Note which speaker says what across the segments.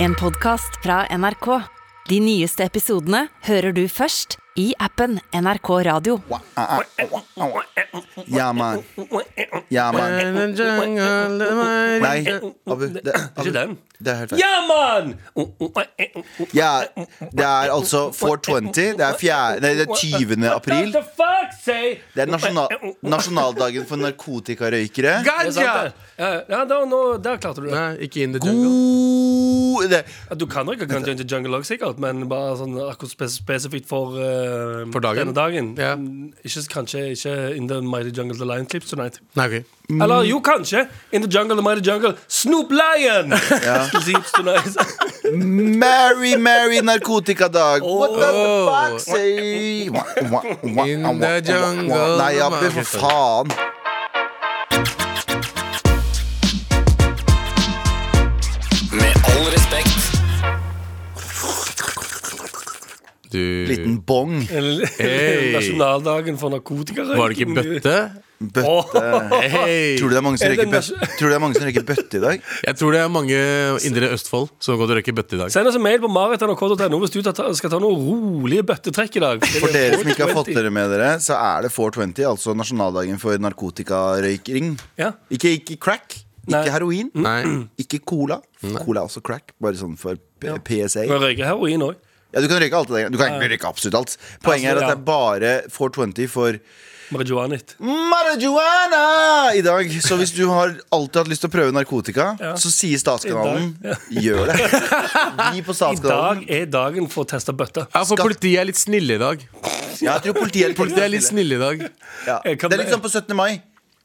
Speaker 1: En podcast fra NRK. De nyeste episodene hører du først i appen NRK Radio.
Speaker 2: Ja, man. Ja,
Speaker 3: Eh,
Speaker 2: man. Eh, Nei, Abu. Det, Abu,
Speaker 4: Ikke den.
Speaker 2: det er helt feil.
Speaker 4: Ja, mann!
Speaker 2: Ja, det er altså 420. Det er, fjerde, nei, det er 20. april.
Speaker 4: What the fuck, say?
Speaker 2: Det er nasjonal, nasjonaldagen for narkotikarøykere.
Speaker 4: Det er sant,
Speaker 3: Ganja!
Speaker 4: det. Ja, ja da, nå, der klarte du det.
Speaker 3: Nei, ikke in the jungle.
Speaker 2: God det.
Speaker 4: Ja, Du kan røyke Ganja in the Jungle også, sikkert, men bare sånn akkurat spes spesifikt for, eh,
Speaker 3: For dagen?
Speaker 4: denne dagen.
Speaker 3: Ja.
Speaker 4: Mm, Ikke, kanskje ikke In the Mighty Jungle The Lion Clips Tonight.
Speaker 3: Nei, ok.
Speaker 4: Eller jo, kanskje. In the Jungle The Mighty Jungle Snoop Lion! Sleeps Tonight.
Speaker 2: Merry, merry narkotikadag. What the fuck say? Wah, wah, wah,
Speaker 3: In
Speaker 2: wah,
Speaker 3: the
Speaker 2: wah, wah.
Speaker 3: jungle.
Speaker 2: Nei, Abu, for faen.
Speaker 5: Med all respekt.
Speaker 3: Du
Speaker 2: Liten bong.
Speaker 3: Hey.
Speaker 4: Nasjonaldagen for narkotikarøyking.
Speaker 3: Var det ikke bøtte?
Speaker 2: Bøtte.
Speaker 3: Hey.
Speaker 2: Tror du det er mange som
Speaker 4: Er det
Speaker 2: røyker bøtte, tror du det er mange som røyker bøtte i dag?
Speaker 3: Jeg tror det er mange indre Østfold som går og røyker bøtte i dag.
Speaker 4: Send oss en mail på marit.nrk.no hvis du ta- skal ta noe rolige bøttetrekk i dag.
Speaker 2: For dere som ikke har fått dere med dere, så er det 420, altså nasjonaldagen for narkotikarøykering.
Speaker 4: Ja.
Speaker 2: Ikke, ikke crack, ikke
Speaker 4: Nei.
Speaker 2: heroin,
Speaker 3: Nei.
Speaker 2: ikke cola. Cola er også crack, bare sånn for P PSA.
Speaker 4: Men røyker heroin òg.
Speaker 2: Ja, du kan røyke alt det der. Du kan egentlig røyke absolutt alt. Poenget er at
Speaker 4: Altså,
Speaker 2: det
Speaker 4: ja.
Speaker 2: er bare 420 for
Speaker 4: Marijuanit.
Speaker 2: marijuana i dag. Så hvis du har alltid hatt lyst til å prøve narkotika,
Speaker 4: Ja.
Speaker 2: så sier Statskanalen gjør det. Vi på
Speaker 4: I dag
Speaker 2: Statskanalen.
Speaker 4: er dagen for å teste bøtte.
Speaker 3: Ja, for politiet er litt snille i dag.
Speaker 2: Ja, jeg tror politiet
Speaker 3: Politiet er litt snille i dag.
Speaker 2: Ja.
Speaker 4: Jeg Eh, kan
Speaker 2: Det er litt
Speaker 4: bare-
Speaker 2: sånn på 17. mai.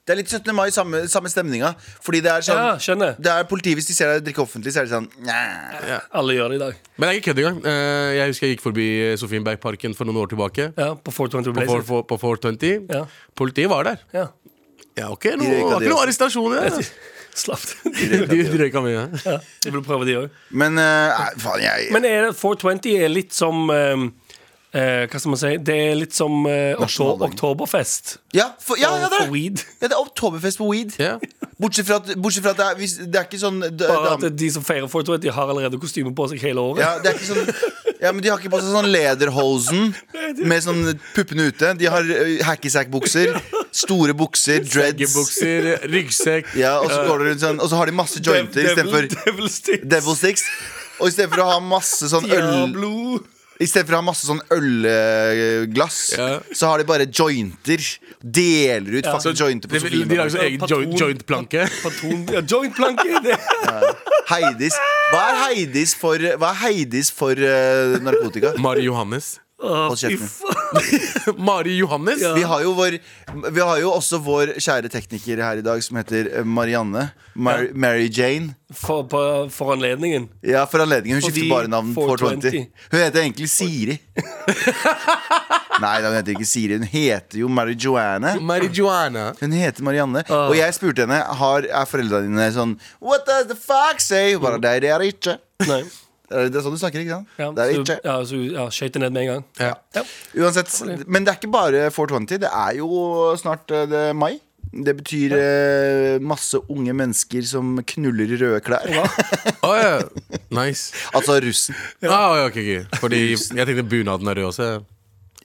Speaker 2: Det er litt 17. mai, samme, samme stemninga. Fordi det er sånn
Speaker 4: Ja, skjønner.
Speaker 2: Det er politiet, Hvis de ser deg drikke offentlig, så er det sånn Næ.
Speaker 4: Alle gjør det i dag.
Speaker 3: Men det er ikke kødd engang. Eh, Jeg husker jeg gikk forbi Sofienbergparken for noen år tilbake.
Speaker 4: Ja, På 420
Speaker 3: På,
Speaker 4: Blazer.
Speaker 3: 4, på 420.
Speaker 4: Ja.
Speaker 3: Politiet var der.
Speaker 4: Ja.
Speaker 3: Ja, ok, nå
Speaker 2: De røyka
Speaker 3: var
Speaker 2: de
Speaker 3: ikke noe
Speaker 2: også.
Speaker 3: arrestasjon. Ja.
Speaker 4: Slapp
Speaker 3: De de røyka mye.
Speaker 4: ja, De vil prøve, de òg.
Speaker 2: Men eh, nei, faen, jeg
Speaker 4: Men er det, 420 er litt som eh, eh, Hva skal man si? Det er litt som eh, okto-
Speaker 2: Nasjonaldagen.
Speaker 4: oktoberfest
Speaker 2: ja, for, ja, ja, det
Speaker 4: for
Speaker 2: er det!
Speaker 4: weed.
Speaker 2: Ja, det er oktoberfest på weed.
Speaker 3: Ja.
Speaker 2: Bortsett fra at, bortsett fra at det, er, hvis, det er ikke sånn d-
Speaker 4: Bare at
Speaker 2: dam-
Speaker 4: de som feirer 420, har allerede kostyme på seg hele året.
Speaker 2: ja, det er ikke sånn ja, men De har ikke på seg sånn lederhosen med sånn puppene ute. De har eh, hackysack-bukser, store bukser, dreads.
Speaker 3: Joggebukser, ryggsekk.
Speaker 2: Ja, og så går det rundt sånn Og så har de masse jointer istedenfor
Speaker 4: Devil Sticks.
Speaker 2: Devil Sticks. Og istedenfor å ha masse sånn øl
Speaker 4: Diablo.
Speaker 2: I stedet for å ha masse sånn ølglass,
Speaker 3: Ja.
Speaker 2: så har de bare jointer. Deler ut fucking jointer
Speaker 3: De,
Speaker 2: på
Speaker 3: de
Speaker 2: Sofienberg.
Speaker 3: lager sånn egen joint-
Speaker 4: Patron.
Speaker 3: joint-planke.
Speaker 4: Patron, ja, joint planke. Det.
Speaker 2: Heidis. Hva er Heidis for, hva er Heidis for eh, narkotika?
Speaker 3: Mari Johannes.
Speaker 2: Hold kjeften.
Speaker 3: Mari Johannes?
Speaker 2: Vi har, jo vår, vi har jo også vår kjære tekniker her i dag, som heter eh, Marianne. Mar Mary Jane.
Speaker 4: For, på, for anledningen.
Speaker 2: Ja, for anledningen. Hun
Speaker 4: Fordi
Speaker 2: skifter bare navn 420.
Speaker 4: 420.
Speaker 2: Hun heter egentlig Siri. Nei, da, hun heter ikke Siri. Hun heter jo Mary Joanne.
Speaker 3: Marijuana.
Speaker 2: Hun heter Marianne,
Speaker 4: Ah.
Speaker 2: og jeg spurte henne Har er foreldrene dine sånn What does the fuck say? Hun Bare, Nei, det er det ikke.
Speaker 4: Nei.
Speaker 2: Det er det er sånn du snakker, ikke sant?
Speaker 4: Ja,
Speaker 2: det er det
Speaker 4: så-
Speaker 2: ikke.
Speaker 4: Ja, så ja, skøyte ned med en gang.
Speaker 3: Ja.
Speaker 2: Uansett, men det er ikke bare 420. Det er jo snart eh, det er mai. Det betyr eh, masse unge mennesker som knuller i røde klær.
Speaker 3: Å, ja. Nice.
Speaker 2: altså russen.
Speaker 3: Ah, ja, ok, ok. Fordi jeg tenkte bunaden er rød også.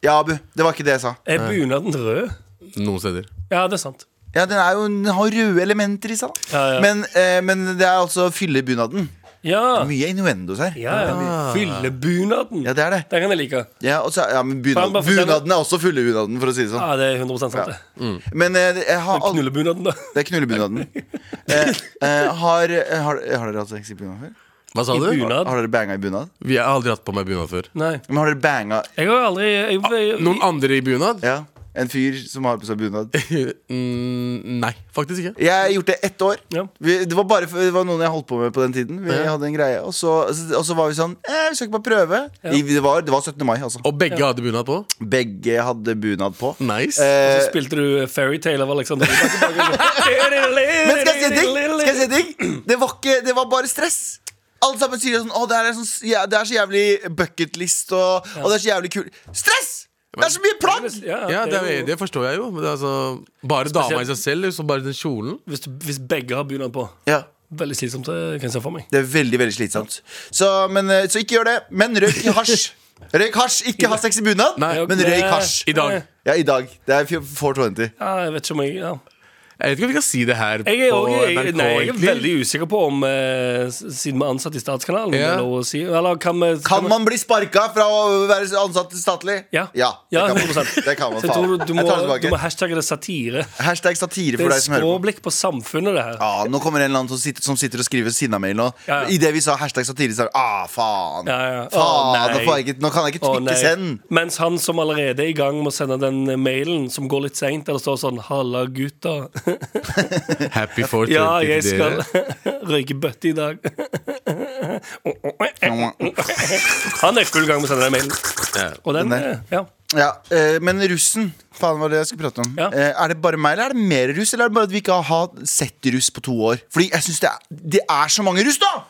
Speaker 2: Ja, Abu. Det var ikke det jeg sa.
Speaker 4: Er bunaden rød?
Speaker 3: Noen steder.
Speaker 4: Ja, det er sant.
Speaker 2: Ja, Den, er jo, den har røde elementer i seg, da.
Speaker 4: Ja, ja.
Speaker 2: Men, eh, men det er altså fyllebunaden.
Speaker 4: Ja,
Speaker 2: Mye innuendos her.
Speaker 4: Ah. ja, ja. Fyllebunaden.
Speaker 2: Ah. Ja, det er det.
Speaker 4: Den kan jeg like.
Speaker 2: Ja, og så, ja men bunaden,
Speaker 4: Bare fortell-
Speaker 2: bunaden er også fyllebunaden, for å si det sånn.
Speaker 4: Ja, det er 100 sant, det.
Speaker 2: Men eh, jeg har aldri
Speaker 4: Knullebunaden, da.
Speaker 2: Det er knullebunaden. eh, eh, har, har, har dere hatt sex i bunad før?
Speaker 3: Hva sa
Speaker 4: I
Speaker 3: du?
Speaker 4: bunad?
Speaker 2: Har dere banga i bunad?
Speaker 3: Vi har aldri hatt på meg bunad før.
Speaker 4: Nei.
Speaker 2: Men har dere banga
Speaker 4: Jeg har aldri jeg,
Speaker 2: Ah,
Speaker 4: jeg,
Speaker 3: Noen andre i bunad?
Speaker 2: ja, en fyr som har på seg bunad?
Speaker 3: Mm, nei, faktisk ikke.
Speaker 2: Jeg har gjort det ett år.
Speaker 4: Ja.
Speaker 2: Vi, det, var bare, for- det var noen jeg holdt på med på den tiden. Vi
Speaker 3: Ja.
Speaker 2: hadde en greie Og så, og så var vi sånn eh, Vi skal ikke bare prøve. Vi, det, var, det var 17. mai, altså.
Speaker 3: Og begge hadde bunad på.
Speaker 2: Begge hadde bunad på.
Speaker 3: Nice.
Speaker 4: Så
Speaker 2: Eh,
Speaker 4: spilte du Fairytale av Alexander
Speaker 2: men skal jeg si en ting? Skal jeg si
Speaker 4: Rybak.
Speaker 2: en ting? Det var, ikke, det var bare stress. Alle sammen sier sånn Å, det, her er sånn, ja, det er så jævlig bucketlist, og, og det er så jævlig kult. Stress! Det er så mye plagg!
Speaker 3: ja, det,
Speaker 4: er jo-
Speaker 3: er- det forstår jeg jo. Men det er altså, liksom, bare dama i seg selv, så bare den kjolen.
Speaker 4: hvis, hvis begge har bunad på.
Speaker 2: Ja.
Speaker 4: Veldig slitsomt. Det kan jeg se for meg.
Speaker 2: Det er veldig, veldig slitsomt. Så, men, eh, så ikke gjør det. Men røyk hasj. Røyk hasj, ikke ha sex i bunad,
Speaker 3: Nei.
Speaker 2: men røyk hasj.
Speaker 3: I dag.
Speaker 2: Ja, i dag. Det er 420.
Speaker 4: Ja, jeg vet ikke om jeg ja.
Speaker 3: Jeg vet ikke om vi kan si det her
Speaker 4: Jeg er,
Speaker 3: på
Speaker 4: også, jeg,
Speaker 3: NRK,
Speaker 4: nei, jeg er
Speaker 3: egentlig.
Speaker 4: veldig usikker på om eh, s- Siden vi er ansatt i Statskanalen om
Speaker 3: Ja.
Speaker 4: det er lov å si, Eller kan vi
Speaker 2: Kan man bli sparka fra å være ansatt statlig?
Speaker 4: Ja.
Speaker 2: ja det,
Speaker 4: Ja,
Speaker 2: kan man.
Speaker 4: 100%.
Speaker 2: det kan man.
Speaker 4: Så jeg tror
Speaker 2: Faen.
Speaker 4: du, du,
Speaker 2: Jeg
Speaker 4: må,
Speaker 2: tar det
Speaker 4: du må
Speaker 2: tilbake.
Speaker 4: hashtagge det satire.
Speaker 2: Hashtag satire
Speaker 4: Det
Speaker 2: for
Speaker 4: er
Speaker 2: deg som hører på.
Speaker 4: skråblikk på samfunnet, det her.
Speaker 2: Ja, nå kommer en eller annen som sitter, som sitter og skriver sinnamail nå.
Speaker 4: Ja, ja.
Speaker 2: I det vi sa hashtag satire, så er det ah, faen.
Speaker 4: Ja, ja. Å,
Speaker 2: Faen, nå,
Speaker 4: nei.
Speaker 2: får jeg ikke, nå kan jeg ikke
Speaker 4: Å,
Speaker 2: trykke
Speaker 4: nei.
Speaker 2: send.
Speaker 4: Mens han som allerede er i gang med å sende den mailen som går litt seint, der det står sånn 'Halla, gutta'.
Speaker 3: Happy 420
Speaker 4: Ja, jeg
Speaker 3: til
Speaker 4: skal
Speaker 3: dere.
Speaker 4: røyke bøtte i dag. Han er full gang med å sende den mailen.
Speaker 3: Ja.
Speaker 4: Og den,
Speaker 2: Den der.
Speaker 4: ja.
Speaker 2: Ja, eh, men russen, faen var det jeg skulle prate om.
Speaker 4: Ja.
Speaker 2: Eh, er det bare meg, eller er det mer russ? Eller er det bare at vi ikke har hatt- sett russ på to år? Fordi jeg syns det, er- det er så mange russ, da!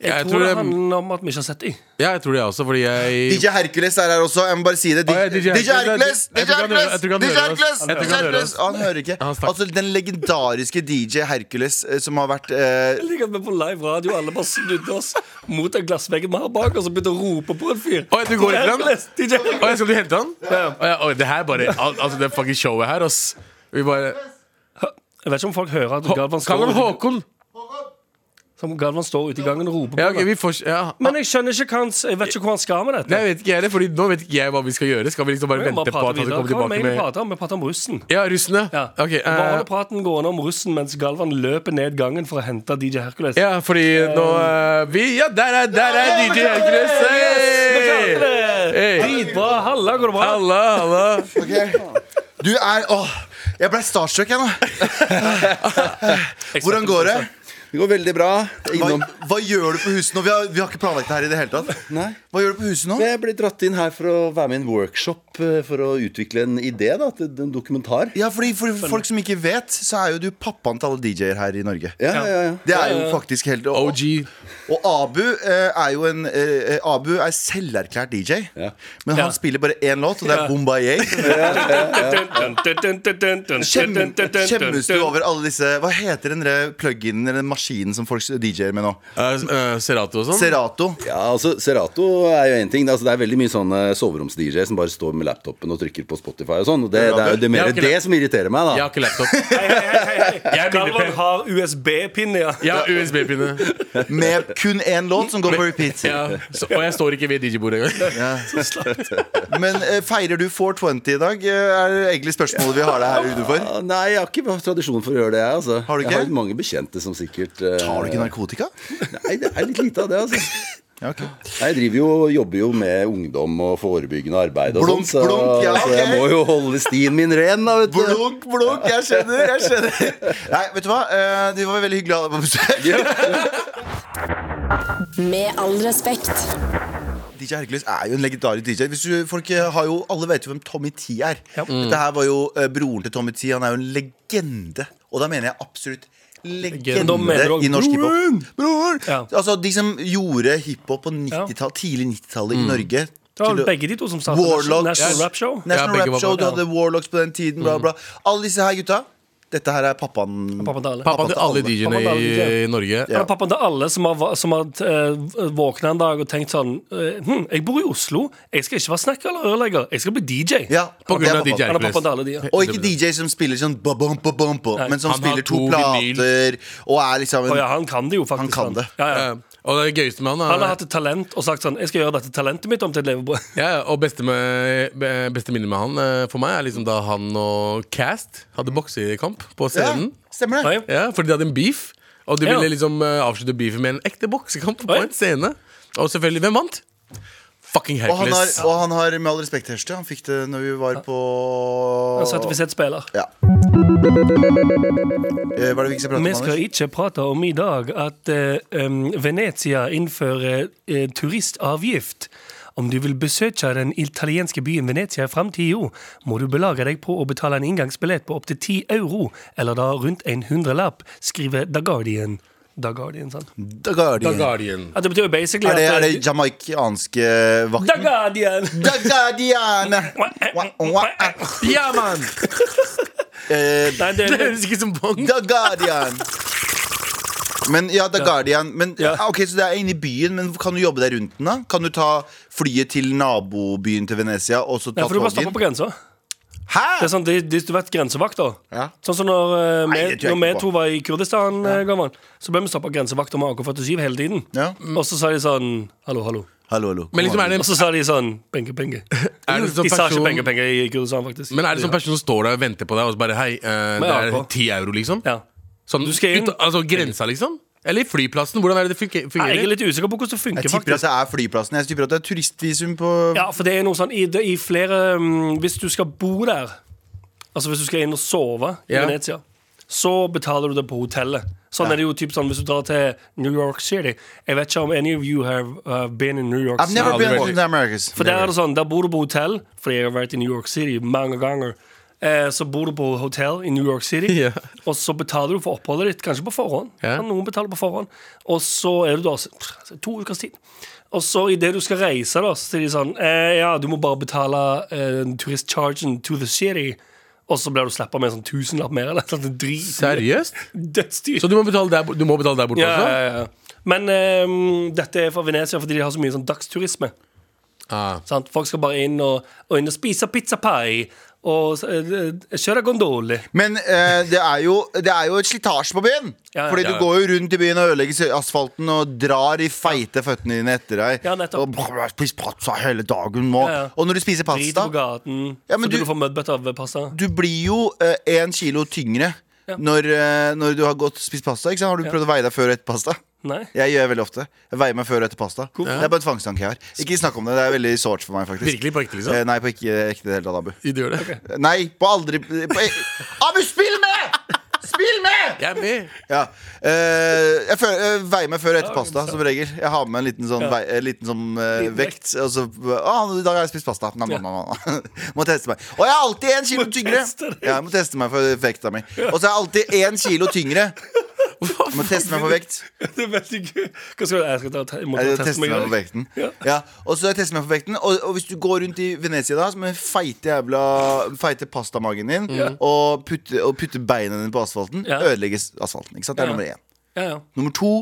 Speaker 4: Jeg,
Speaker 3: Jeg
Speaker 4: tror
Speaker 3: tror
Speaker 4: det
Speaker 3: det-
Speaker 4: handler om at vi ikke har sett dem.
Speaker 3: ja, jeg tror det også, fordi jeg
Speaker 2: DJ Hercules er her også. Jeg må bare si det.
Speaker 3: Å, ja,
Speaker 2: DJ,
Speaker 3: DJ Hercules.
Speaker 2: Hercules!
Speaker 3: Jeg
Speaker 2: DJ
Speaker 3: tror ikke han hører-
Speaker 2: Hercules!
Speaker 3: jeg tror ikke
Speaker 2: DJ
Speaker 3: han hører oss.
Speaker 2: Hercules!
Speaker 3: Jeg tror
Speaker 2: DJ
Speaker 3: ikke han hører
Speaker 2: Hercules! Han hører ikke.
Speaker 3: Han snakker.
Speaker 2: Altså, den legendariske DJ Hercules eh, som har vært eh,
Speaker 4: Jeg liker at vi på live radio alle bare snudde oss mot den glassveggen vi har bak, og så begynte å rope på en fyr.
Speaker 3: Å, du går etter ham?
Speaker 4: Hercules, DJ
Speaker 3: Å, jeg
Speaker 4: Hercules.
Speaker 3: skal du hente han? Å, ja, å, det her bare al Altså, det fucking showet her, ass. Vi bare
Speaker 4: Jeg vet ikke om folk hører at Galvan står,
Speaker 3: Kall ham
Speaker 4: ute,
Speaker 3: Håkon!
Speaker 4: som Galvan står ute i gangen og roper på
Speaker 3: Ja, ok,
Speaker 4: meg.
Speaker 3: vi får Ja.
Speaker 4: Men jeg skjønner ikke hva han, jeg vet ikke hvor han skal med
Speaker 3: Nei,
Speaker 4: dette.
Speaker 3: jeg vet ikke heller, fordi nå vet ikke jeg hva vi skal gjøre. Skal vi liksom bare
Speaker 4: Vi må
Speaker 3: vente på
Speaker 4: prate
Speaker 3: at han
Speaker 4: videre.
Speaker 3: skal komme
Speaker 4: Hva var
Speaker 3: tilbake
Speaker 4: det vi egentlig
Speaker 3: med
Speaker 4: pratet om? Vi pratet om russen.
Speaker 3: Ja, russene?
Speaker 4: Ja.
Speaker 3: Ok, eh,
Speaker 4: Bare holde praten gående om russen mens Galvan løper ned gangen for å hente DJ Hercules.
Speaker 3: ja, fordi nå eh, vi, Ja, der er, der er DJ Hercules!
Speaker 4: Yes, vi klarte
Speaker 3: Hey!
Speaker 4: det!
Speaker 3: Hey!
Speaker 4: Dritbra. Halla, går det bra?
Speaker 3: Halla, halla.
Speaker 2: Ok. Du er Åh, jeg ble starstruck, jeg nå. Hvordan går det?
Speaker 6: Det går veldig bra.
Speaker 2: Hva,
Speaker 6: Innom.
Speaker 2: hva gjør du på huset nå? Vi har, vi har ikke planlagt det her i det hele tatt.
Speaker 6: Nei.
Speaker 2: Hva gjør du på huset nå?
Speaker 6: Jeg ble dratt inn her for å være med i en workshop eh, for å utvikle en idé da, til en dokumentar.
Speaker 2: Ja, fordi For folk som ikke vet, så er jo du pappaen til alle DJ-er her i Norge.
Speaker 6: Ja, ja, ja.
Speaker 2: Det er jo faktisk helt Og,
Speaker 3: OG.
Speaker 2: og Abu eh, er jo en eh, Abu er selverklært DJ,
Speaker 6: Ja.
Speaker 2: men han
Speaker 4: Ja.
Speaker 2: spiller bare én låt, og det er
Speaker 4: Ja.
Speaker 2: Bombay. Kjem- Kjemmes du over alle disse Hva heter den der plug-in eller den maskinen som folk DJ-er med nå?
Speaker 3: Eh, eh, Serato og sånn?
Speaker 2: Serato.
Speaker 6: Ja, altså, Serato er jo en ting. Altså, det er veldig mye sånne soveroms-DJ-er som bare står med laptopen og trykker på Spotify og sånn. og Det, det er jo det mer
Speaker 3: Ja, ok,
Speaker 6: det som irriterer meg,
Speaker 3: Jeg
Speaker 6: da.
Speaker 3: har ikke laptop.
Speaker 4: Galvan har USB-pinne, ja.
Speaker 3: Jeg har USB-pinne.
Speaker 2: Med kun én låt som går på repeat.
Speaker 3: Ja. Så, og jeg står ikke ved DJ-bordet engang.
Speaker 2: Men eh, feirer du 420 i dag? Eh, er egentlig spørsmålet vi har deg her ute for.
Speaker 6: Ja, Nei, jeg har ikke hatt tradisjon for å gjøre det, jeg. Altså.
Speaker 2: Har du ikke?
Speaker 6: Jeg har mange bekjente som sikkert eh,
Speaker 2: Har du ikke narkotika?
Speaker 6: Nei, det er litt lite av det, altså.
Speaker 2: Ja, ok.
Speaker 6: Nei, Jeg driver jo og jobber jo med ungdom og forebyggende arbeid og
Speaker 2: Blunk,
Speaker 6: sånn, så,
Speaker 2: blunk, ja,
Speaker 6: så jeg
Speaker 2: ok.
Speaker 6: må jo holde stien min ren, da, vet du.
Speaker 2: Blunk, blunk, jeg skjønner, jeg skjønner. Nei, vet du hva? Eh, det var veldig hyggelig å ha deg på besøk.
Speaker 7: Med all respekt.
Speaker 2: DJ Hercules er jo en legendarisk DJ. Hvis du, folk eh, har jo, Alle vet jo hvem Tommy T er. Dette her var jo eh, broren til Tommy T. Han er jo en legende. Og da mener jeg absolutt
Speaker 4: Men da mener
Speaker 2: legende
Speaker 4: du også
Speaker 2: i norsk hiphop. Bror!
Speaker 4: Ja.
Speaker 2: Altså, de som gjorde hiphop på 90 tidlig 90-tallet i Norge
Speaker 4: Det var
Speaker 2: til
Speaker 4: vel
Speaker 2: å-
Speaker 4: begge de to som startet
Speaker 2: Warlocks.
Speaker 4: National Rap Show.
Speaker 2: National
Speaker 3: Ja, begge
Speaker 2: Rap
Speaker 3: var
Speaker 2: Show,
Speaker 3: bra. Mm.
Speaker 2: du hadde Warlocks på den tiden, bla, bla. Alle disse her gutta. Dette her er pappaen
Speaker 4: Pappa til alle.
Speaker 3: Pappaen til alle DJ-ene
Speaker 4: Pappaen til alle
Speaker 3: i,
Speaker 4: DJ-ene.
Speaker 3: i Norge.
Speaker 4: Ja. Pappaen til alle som har, som har eh, våknet en dag og tenkt sånn eh, hm, Jeg bor i Oslo, jeg skal ikke være snekker eller rørlegger, jeg skal bli DJ.
Speaker 2: Ja,
Speaker 3: På
Speaker 2: det er
Speaker 3: grunn av
Speaker 2: pappaen.
Speaker 3: DJ
Speaker 4: Han er pappaen til
Speaker 3: Hercules.
Speaker 4: alle de, ja.
Speaker 2: Og ikke DJ som spiller sånn ba bum, ba bum, ba, men som
Speaker 3: han har
Speaker 2: spiller to
Speaker 3: to vinyl.
Speaker 2: plater og er liksom
Speaker 4: Å
Speaker 2: en
Speaker 4: ja, han kan det jo faktisk.
Speaker 2: Han kan det.
Speaker 4: Ja, ja.
Speaker 3: Ja, Eh, og det gøyeste med han
Speaker 4: Han
Speaker 3: er
Speaker 4: har hatt et talent og sagt sånn Jeg skal gjøre dette talentet mitt om til et levebrød.
Speaker 3: ja, ja, Og beste, med, be- beste minne med han eh, for meg er liksom da han og Cast hadde boksekamp på scenen.
Speaker 2: Ja, stemmer det.
Speaker 4: Nei.
Speaker 3: Ja, Fordi de hadde en beef, og de
Speaker 4: Ja.
Speaker 3: ville liksom eh, avslutte beefen med en ekte boksekamp på
Speaker 4: Oi.
Speaker 3: en scene. Og selvfølgelig, hvem vant? Fucking
Speaker 2: Og han, har,
Speaker 3: Hercules.
Speaker 2: og han har med all respekt Hørste, han fikk det når vi var på
Speaker 4: En sertifisert spiller.
Speaker 2: ja. Eh, Hva er det vi ikke skal prate om,
Speaker 4: Vi skal
Speaker 2: Anders?
Speaker 4: ikke prate om i dag at eh, em, Venezia innfører eh, turistavgift. Om du vil besøke den italienske byen Venezia i framtida, må du belage deg på å betale en inngangsbillett på opptil 10 euro, eller da rundt en hundrelapp, skriver The Guardian. The Guardian, sant?
Speaker 2: The Guardian.
Speaker 3: The Guardian.
Speaker 4: Ja, det betyr jo basically
Speaker 2: Mm. Er det,
Speaker 4: at
Speaker 2: er det jamaicanske
Speaker 4: The
Speaker 2: vakten?
Speaker 4: Guardian!
Speaker 2: The Guardian! Wah, wah, eh.
Speaker 3: Ja, mann!
Speaker 2: Eh,
Speaker 4: Nei, det,
Speaker 3: Det høres ikke som Bond.
Speaker 2: The Guardian! Men ja, The Guardian men,
Speaker 4: Ja.
Speaker 2: ah, Ok, Så det er inne i byen, men kan du jobbe deg rundt den? da? Kan du ta flyet til nabobyen til Venezia og så ta
Speaker 4: Ja, for du bare
Speaker 2: toget
Speaker 4: stopper
Speaker 2: inn?
Speaker 4: på grensa. Det
Speaker 2: Hæ?!
Speaker 4: er sånn, det, det, du vet grensevakter.
Speaker 2: Ja.
Speaker 4: Sånn som når, eh,
Speaker 2: Nei,
Speaker 4: vi-
Speaker 2: det tror jeg
Speaker 4: når vi
Speaker 2: ikke på.
Speaker 4: to var i Kurdistan, eh, gammel, så ble vi stoppa av grensevakter med AK-47 hele tiden.
Speaker 2: Ja.
Speaker 4: Og så sa de sånn Hallo, hallo.
Speaker 2: Hallo, hallo.
Speaker 3: Men liksom er det
Speaker 4: Og så sa de sånn Penge, penge.
Speaker 3: Er det sånn
Speaker 4: de sa
Speaker 3: person-
Speaker 4: ikke penge, penge i Kurdistan, faktisk.
Speaker 3: Men er det sånn person som står der og venter på deg, og så bare Hei, eh, det
Speaker 4: Med
Speaker 3: er
Speaker 4: AK.
Speaker 3: ti euro, liksom?
Speaker 4: Ja.
Speaker 3: Sånn,
Speaker 4: Du skal inn-
Speaker 3: ut, altså grensa, liksom? Eller i flyplassen? Hvordan er det det funke-
Speaker 4: Nei, Jeg er
Speaker 3: fungerer?
Speaker 4: litt usikker på hvordan det funker,
Speaker 2: Jeg tipper
Speaker 4: faktisk.
Speaker 2: at det er flyplassen. Jeg tipper at det er turistvisum på
Speaker 4: Ja, for det er noe sånn i, det, i flere mm, Hvis du skal bo der Altså hvis du skal inn og sove i
Speaker 3: Ja.
Speaker 4: Venezia Så betaler du det på hotellet Sånn er det jo typ sånn hvis du drar til New York City Jeg vet ikke om any of you have uh, been in New York
Speaker 2: I've
Speaker 4: City
Speaker 2: never
Speaker 3: Ja,
Speaker 2: been
Speaker 3: aldri
Speaker 2: to the Americas.
Speaker 4: For der er det sånn, der bor du på hotell Fordi jeg har vært i New York City mange ganger Eh, så bor du på hotell i New York City
Speaker 3: Ja.
Speaker 4: Og så betaler du for oppholdet ditt Kanskje på forhånd
Speaker 3: Ja.
Speaker 4: Kan Noen betaler på forhånd Og så er du da pff, altså, to ukers tid Og så i det du skal reise da Så sier de sånn eh, Ja, du må bare betale eh, turistchargen to the city Og så blir du slappet med en sånn tusenlapp mer Eller sånn drit
Speaker 3: Seriøst?
Speaker 4: Dødsdyrt.
Speaker 3: Så du må betale der, bo- du må betale der borte
Speaker 4: ja,
Speaker 3: også?
Speaker 4: ja, ja. Men eh, dette er fra Venezia Fordi de har så mye sånn dagsturisme
Speaker 3: Ah.
Speaker 4: Sant? Folk skal bare inn og, og, inn og spise pizza pie og eh, eh, kjøre gondole.
Speaker 2: Men eh, det, er jo, det er jo et slitasje på byen.
Speaker 4: Ja, ja.
Speaker 2: Fordi
Speaker 3: Ja,
Speaker 2: du
Speaker 3: ja.
Speaker 2: går jo rundt i byen og ødelegger asfalten og drar i feite føttene dine etter deg.
Speaker 4: Ja,
Speaker 2: og
Speaker 4: nettopp.
Speaker 2: brr, spiser pizza hele dagen nå.
Speaker 4: Ja, ja.
Speaker 2: Og når du spiser
Speaker 4: Drit på
Speaker 2: pasta,
Speaker 4: gaten
Speaker 2: Ja, men
Speaker 4: fordi
Speaker 2: du-
Speaker 4: du, får mudbøtter av pasta.
Speaker 2: du blir jo én kilo tyngre.
Speaker 4: Ja.
Speaker 2: Når, eh, når du har gått og spist pasta. Ikke sant? Har du prøvd å veie deg før og etter pasta?
Speaker 4: Nei.
Speaker 2: Jeg gjør det veldig ofte. Jeg veier meg før og etter pasta. Det er bare en tvangstanke jeg har. Ikke snakk om det. Det er veldig sårt for meg, faktisk.
Speaker 3: Virkelig på ekte, liksom?
Speaker 2: Eh, Nei, på ikke ekte det hele tatt, Abu. Eh,
Speaker 3: Du gjør det?
Speaker 2: Nei, på aldri på, Abu, spill med! Spill med!
Speaker 3: Jeg er med!
Speaker 2: Ja. eh, jeg føler, jeg veier meg før og etter pasta, som regel. Jeg har med en liten sånn, vei, en liten sånn eh,
Speaker 4: Liten
Speaker 2: vekt. Og så ah, 'I dag har jeg spist pasta.' Nam, nam, nam, nam. Må teste meg. Og jeg er alltid én kilo
Speaker 4: Må
Speaker 2: tyngre.
Speaker 4: teste deg.
Speaker 2: Ja, jeg må teste meg for vekta mi. Og så er jeg alltid én kilo tyngre. Jeg må teste meg for vekt.
Speaker 4: Det er veldig gøy. Hva skal du Jeg skal ta, jeg må
Speaker 2: Jeg
Speaker 4: ta
Speaker 2: tester meg
Speaker 4: i
Speaker 2: på
Speaker 4: dag.
Speaker 2: vekten.
Speaker 4: Ja.
Speaker 2: Ja, og så tester jeg meg på vekten og, og hvis du går rundt i Venezia da med feite jævla feite pastamagen din og, putter, og putter beina dine på asfalten,
Speaker 4: Ja.
Speaker 2: ødelegges asfalten. Ikke sant? Det er
Speaker 4: Ja.
Speaker 2: nummer én.
Speaker 4: Ja, ja.
Speaker 2: Nummer to,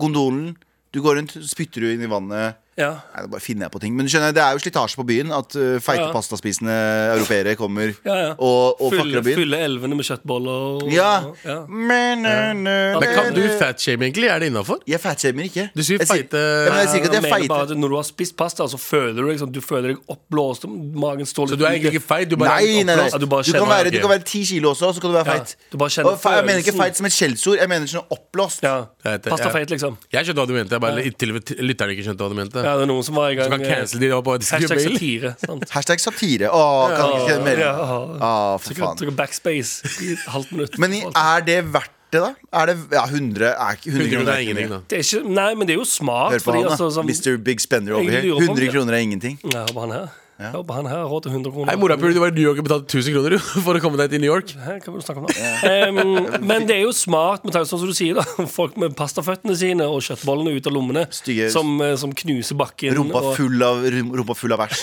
Speaker 2: gondolen. Du går rundt, så spytter du inn i vannet.
Speaker 4: ja.
Speaker 2: Nei, det bare finner jeg på ting Men du skjønner, det er jo slitasje på byen at uh, feite
Speaker 4: Ja.
Speaker 2: pastaspisende europeere kommer
Speaker 4: Ja, ja.
Speaker 2: og, og
Speaker 4: Fylle,
Speaker 2: fucker opp byen.
Speaker 4: fylle elvene med kjøttboller. og-
Speaker 2: Ja.
Speaker 4: ja.
Speaker 2: Men,
Speaker 3: Men kan du fatshame, egentlig? Er det innafor?
Speaker 2: Jeg fatshamer ikke.
Speaker 3: Du sier
Speaker 2: Jeg sier-
Speaker 3: feite-
Speaker 2: ja, men jeg sier ikke at
Speaker 4: Jeg
Speaker 2: jeg
Speaker 4: mener bare
Speaker 2: feiter.
Speaker 4: at Når du har spist pasta, så føler du, liksom, du føler deg oppblåst. Magen står litt
Speaker 3: Så du er egentlig ikke feit? Du bare
Speaker 2: Nei, nei, nei.
Speaker 4: Ja,
Speaker 2: Du,
Speaker 4: du bare
Speaker 2: kan
Speaker 4: kjenner-
Speaker 2: være, du kan være ti kilo også, så kan du være
Speaker 4: Ja,
Speaker 2: feit.
Speaker 4: du bare kjenner
Speaker 2: og fe jeg mener ikke
Speaker 4: følelsen.
Speaker 2: feit som et skjellsord. Jeg mener sånn oppblåst.
Speaker 4: ja.
Speaker 3: Jeg vet det,
Speaker 4: Pasta
Speaker 3: ja.
Speaker 4: feit, liksom.
Speaker 3: Jeg skjønte hva du mente. Jeg bare, til og med t- lytterne ikke skjønte hva du mente.
Speaker 4: Ja, det er noen som var i
Speaker 3: Så
Speaker 4: gang
Speaker 3: kan
Speaker 4: eh,
Speaker 3: cancel de da på
Speaker 4: Hashtag
Speaker 3: mail.
Speaker 4: satire. Sant?
Speaker 2: Hashtag satire. Åh, kan ikke mer
Speaker 4: Ja,
Speaker 2: Åh, for
Speaker 4: Trykker-
Speaker 2: faen.
Speaker 4: trykker backspace i et halvt minutt.
Speaker 2: Men i- er det verdt det, da? Er det ja, 100 er ikke 100
Speaker 3: 100
Speaker 2: kroner
Speaker 3: kroner
Speaker 2: er
Speaker 3: er
Speaker 2: ikke
Speaker 3: ingenting,
Speaker 2: mye.
Speaker 3: da.
Speaker 4: det er ikke, nei, men det er jo smart.
Speaker 2: Hør på
Speaker 4: fordi,
Speaker 2: han,
Speaker 4: altså,
Speaker 2: da.
Speaker 4: sånn,
Speaker 2: Mr. Big Spender over
Speaker 4: Jeg
Speaker 2: here.
Speaker 4: lurer på om
Speaker 2: 100
Speaker 4: det-
Speaker 2: kroner er ingenting.
Speaker 4: Nei, Jeg håper han her. Jeg håper han her har råd til 100 kroner.
Speaker 3: Nei, morapuler, du var i New York og betalte 1000 kroner for å komme deg til New York.
Speaker 4: Hæ, hva vil du snakke om nå? Em, men det er jo smart, med tanke sånn som du sier, da. folk med pastaføttene sine og kjøttbollene ut av lommene
Speaker 2: Stygge-
Speaker 4: som, eh, som knuser bakken.
Speaker 2: Rumpa
Speaker 4: og,
Speaker 2: full av, rum- rumpa full av bæsj.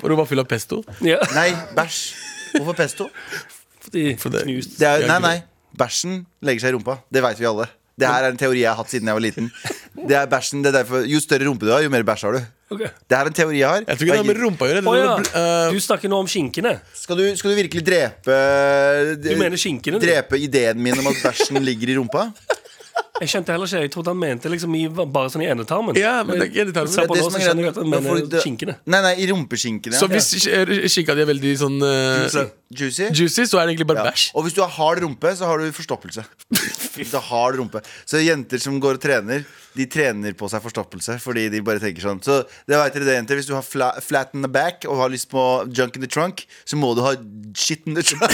Speaker 3: For du var full av pesto.
Speaker 4: ja,
Speaker 2: Nei, bæsj. Hvorfor pesto?
Speaker 4: de
Speaker 3: det-
Speaker 4: knust.
Speaker 2: Det er, nei, nei. Bæsjen legger seg i rumpa. Det veit vi alle. Det her er en teori jeg har hatt siden jeg var liten. Det er bæsjen, det er derfor, Jo større rumpe du har, jo mer bæsj har du.
Speaker 4: Ok.
Speaker 2: Det her er en teori jeg har.
Speaker 3: Jeg tror ikke det har med rumpa å gjøre. jeg
Speaker 4: Å
Speaker 3: tror det
Speaker 4: ja,
Speaker 3: var bl- eh,
Speaker 4: du snakker nå om skinkene.
Speaker 2: Skal du, skal du virkelig drepe
Speaker 4: Du mener skinkene, du?
Speaker 2: Drepe ideen min om at bæsjen ligger i rumpa?
Speaker 4: Jeg skjønte heller ikke, jeg trodde han mente liksom i, bare sånn i endetarmen.
Speaker 3: eh, ja, men det er ikke irriterende.
Speaker 4: Se på
Speaker 2: Det
Speaker 4: nå,
Speaker 2: som
Speaker 4: så
Speaker 2: er greit-
Speaker 4: skjønner jeg at han
Speaker 2: da får
Speaker 4: mener
Speaker 2: du-
Speaker 4: skinkene.
Speaker 2: Nei, nei, i rumpeskinkene.
Speaker 3: Så hvis eh, skinka di er veldig sånn eh,
Speaker 2: ja. Juicy?
Speaker 3: juicy, så er det egentlig bare
Speaker 2: Ja.
Speaker 3: bæsj.
Speaker 2: Og hvis du har hard rumpe, så har du forstoppelse. Hvis du har hard rumpe Så jenter som går og trener, de trener på seg forstoppelse. Fordi de bare tenker sånn Så det vet dere det, jenter. Hvis du har fla flat in the back og har lyst på junk in the trunk, så må du ha shit in the trunk.